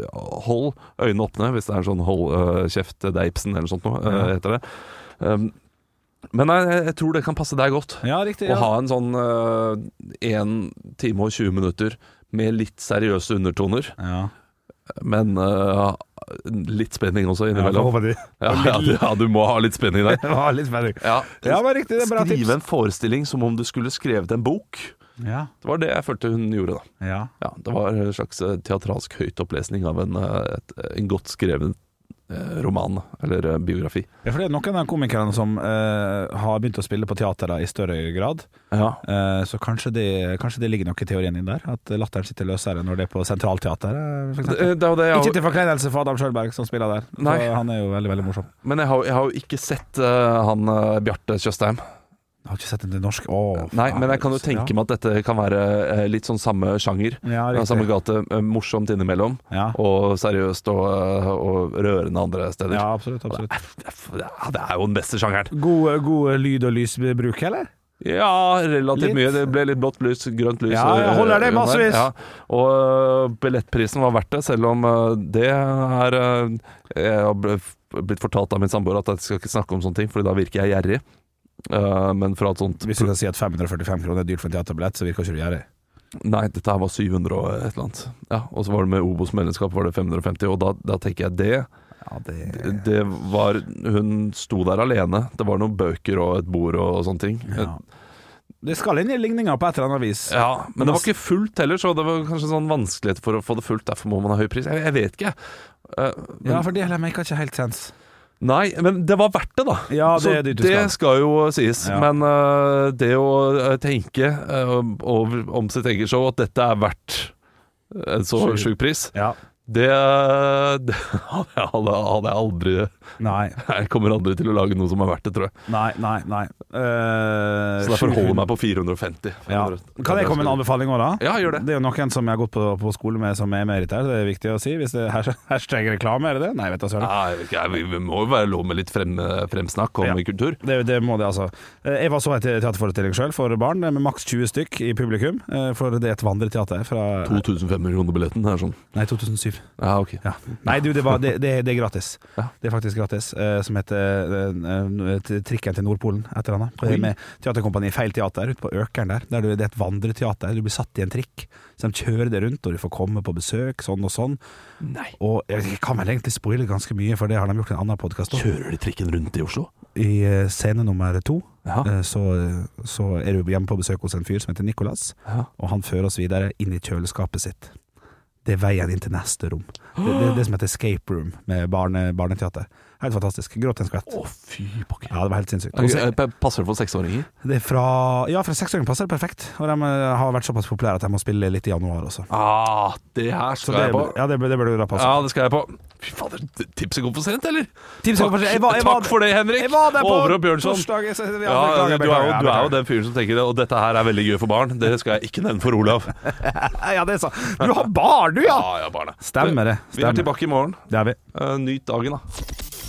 Speaker 2: hold øynene åpne, hvis det er en sånn hold øh, kjeft Deipsen eller noe sånt noe, øh, heter det. Um, men nei, jeg, jeg tror det kan passe deg godt.
Speaker 3: ja riktig.
Speaker 2: Å
Speaker 3: Ja.
Speaker 2: ha en sånn én time og 20 minutter med litt seriøse undertoner,
Speaker 3: Ja.
Speaker 2: men eh, litt spenning også
Speaker 3: Ja,
Speaker 2: innimellom.
Speaker 3: håper de.
Speaker 2: Ja, ja, du, ja, du må ha litt spenning der.
Speaker 3: Det var litt spenning.
Speaker 2: Ja.
Speaker 3: Ja, men riktig, det er bra tips.
Speaker 2: Skrive en forestilling som om du skulle skrevet en bok.
Speaker 3: Ja.
Speaker 2: Det var det jeg følte hun gjorde, da.
Speaker 3: Ja.
Speaker 2: Ja, det var en slags eh, teatralsk høytopplesning av en, eh, et, en godt skreven eh, roman, eller eh, biografi.
Speaker 3: Ja, for det er noen av de komikerne som eh, har begynt å spille på teater da, i større grad.
Speaker 2: Ja.
Speaker 3: Eh, så kanskje det, kanskje det ligger noe i teorien din der? At latteren sitter løsere når det er på sentralteateret? for
Speaker 2: Det,
Speaker 3: eksempel.
Speaker 2: Eh, det er jo det jeg
Speaker 3: Ikke til forkleinelse for Adam Sjølberg som spiller der.
Speaker 2: Nei.
Speaker 3: For han er jo veldig veldig morsom.
Speaker 2: Men jeg har, jeg har jo ikke sett eh, han eh, Bjarte Tjøstheim.
Speaker 3: Jeg har ikke sett den til norsk. Åh,
Speaker 2: Nei,
Speaker 3: faen.
Speaker 2: men jeg kan jo tenke meg at dette kan være eh, litt sånn samme sjanger.
Speaker 3: Ja,
Speaker 2: eh,
Speaker 3: riktig.
Speaker 2: samme gate. eh, Morsomt innimellom,
Speaker 3: Ja.
Speaker 2: og seriøst og, eh, og rørende andre steder.
Speaker 3: ja, absolutt. absolutt.
Speaker 2: Ja, det er jo den beste sjangeren.
Speaker 3: God, god lyd- og lysbruk, eller?
Speaker 2: Ja, relativt
Speaker 3: Litt.
Speaker 2: mye. Det ble litt blått lys, grønt lys.
Speaker 3: Ja, jeg
Speaker 2: eh,
Speaker 3: holder det
Speaker 2: under.
Speaker 3: massevis.
Speaker 2: Ja. Og eh, billettprisen var verdt det, selv om eh, det er eh, Jeg har ble- blitt fortalt av min samboer at jeg skal ikke snakke om sånne ting, for da virker jeg gjerrig. Eh, men fra et sånt
Speaker 3: Hvis du kan si at 545 kroner er dyrt for en teaterbillett, så virker ikke du gjerrig.
Speaker 2: Nei, dette her var 700 og et eller annet. Ja, og så var det med Obos-medlemskap var det 550, og da, da tenker jeg det.
Speaker 3: Ja, det
Speaker 2: Det var Hun sto der alene. Det var noen bøker og et bord og, sånne ting. Ja,
Speaker 3: ja. Det skal inn i ligninga på et eller annet vis.
Speaker 2: Men det var ikke fullt heller, så det var kanskje sånn vanskelighet for å få det fullt. Derfor må man ha høy pris. Jeg, jeg vet ikke. Eh, men,
Speaker 3: Ja, for det maker ikke helt sens.
Speaker 2: Nei, men det var verdt det, da.
Speaker 3: Ja, det
Speaker 2: så
Speaker 3: er det du
Speaker 2: det
Speaker 3: skal.
Speaker 2: skal jo sies.
Speaker 3: Ja.
Speaker 2: Men eh, det å eh, tenke eh, over, om sitt eget show at dette er verdt eh, en så
Speaker 3: Sju.
Speaker 2: sjuk pris,
Speaker 3: Ja.
Speaker 2: Det, eh, det hadde, jeg, hadde jeg aldri
Speaker 3: Nei,
Speaker 2: Jeg kommer aldri til å lage noe som er verdt det, tror jeg.
Speaker 3: nei, nei. nei. Eh,
Speaker 2: Så derfor
Speaker 3: 700.
Speaker 2: holder jeg meg på 450.
Speaker 3: ja. Kan jeg komme med en anbefaling òg, da?
Speaker 2: Ja, gjør det.
Speaker 3: Det er jo noen som jeg har gått på, på skole med som er merit her, det er viktig å si. Hvis det er hashtag reklame, er det det? Nei, vet da søren.
Speaker 2: Nei, jeg vet ikke, jeg- vi, vi må jo være lov med litt frem, fremsnakk om
Speaker 3: Ja.
Speaker 2: kultur.
Speaker 3: Det, det må det, altså. Eh, Jeg var så en te- teaterforestilling sjøl, for barn, med maks 20 stykk i publikum. eh, For det er et vandreteater fra
Speaker 2: 2500 kroner billetten er sånn.
Speaker 3: Nei, 2007.
Speaker 2: Ja, ok.
Speaker 3: Ja. Nei, du, det, var, det, det, det er gratis.
Speaker 2: Ja.
Speaker 3: Det er faktisk gratis. eh, som heter eh, eh, Trikken til Nordpolen, et eller annet.
Speaker 2: Oi.
Speaker 3: Med teaterkompani Feil Teater ute på Økeren der. der du, det er et vandreteater. Du blir satt i en trikk, så de kjører deg rundt, og du får komme på besøk, sånn og sånn.
Speaker 2: Nei.
Speaker 3: Og jeg kan vel egentlig spoile ganske mye, for det har de gjort i en annen podkast òg.
Speaker 2: Kjører de trikken rundt i Oslo?
Speaker 3: I eh, scene nummer to
Speaker 2: Ja.
Speaker 3: eh, så, så er du hjemme på besøk hos en fyr som heter Nicolas,
Speaker 2: Ja.
Speaker 3: og han fører oss videre inn i kjøleskapet sitt. Det er veien inn til neste rom. Det, det, det som heter escape room med barne, barneteater. Helt fantastisk. Gråt en skvett.
Speaker 2: Å, fy pokker.
Speaker 3: Ja, det var helt sinnssykt. Og så-
Speaker 2: Ok, eh, Passer det for seksåringer?
Speaker 3: Det er fra Ja, fra seksåringen passer det perfekt. Og de eh, har vært såpass populære at de må spille litt i januar også.
Speaker 2: Ah, det her
Speaker 3: Så
Speaker 2: skal
Speaker 3: det,
Speaker 2: jeg på.
Speaker 3: ja, det, det burde du altså. da passe.
Speaker 2: Ja, det skal jeg på. Fy fader, tipset kom for sent, eller?
Speaker 3: Tipset kom for sent. Jeg var- jeg var-
Speaker 2: Takk for det, Henrik.
Speaker 3: Jeg var der på
Speaker 2: Over og Bjørnson.
Speaker 3: torsdag, jeg- jeg- jeg-
Speaker 2: Ja, du, er
Speaker 3: beklager,
Speaker 2: jo,
Speaker 3: beklager,
Speaker 2: du er jo
Speaker 3: beklager.
Speaker 2: den fyren som tenker Og dette her er veldig gøy for barn. Det skal jeg ikke nevne for Olav.
Speaker 3: Ja, det er så. Du har bar, du, ja!
Speaker 2: Ja, ja, barna.
Speaker 3: Stemmer det.
Speaker 2: Vi er
Speaker 3: Stemmer.
Speaker 2: tilbake i morgen.
Speaker 3: Det er vi.
Speaker 2: Eh, Nyt dagen, da.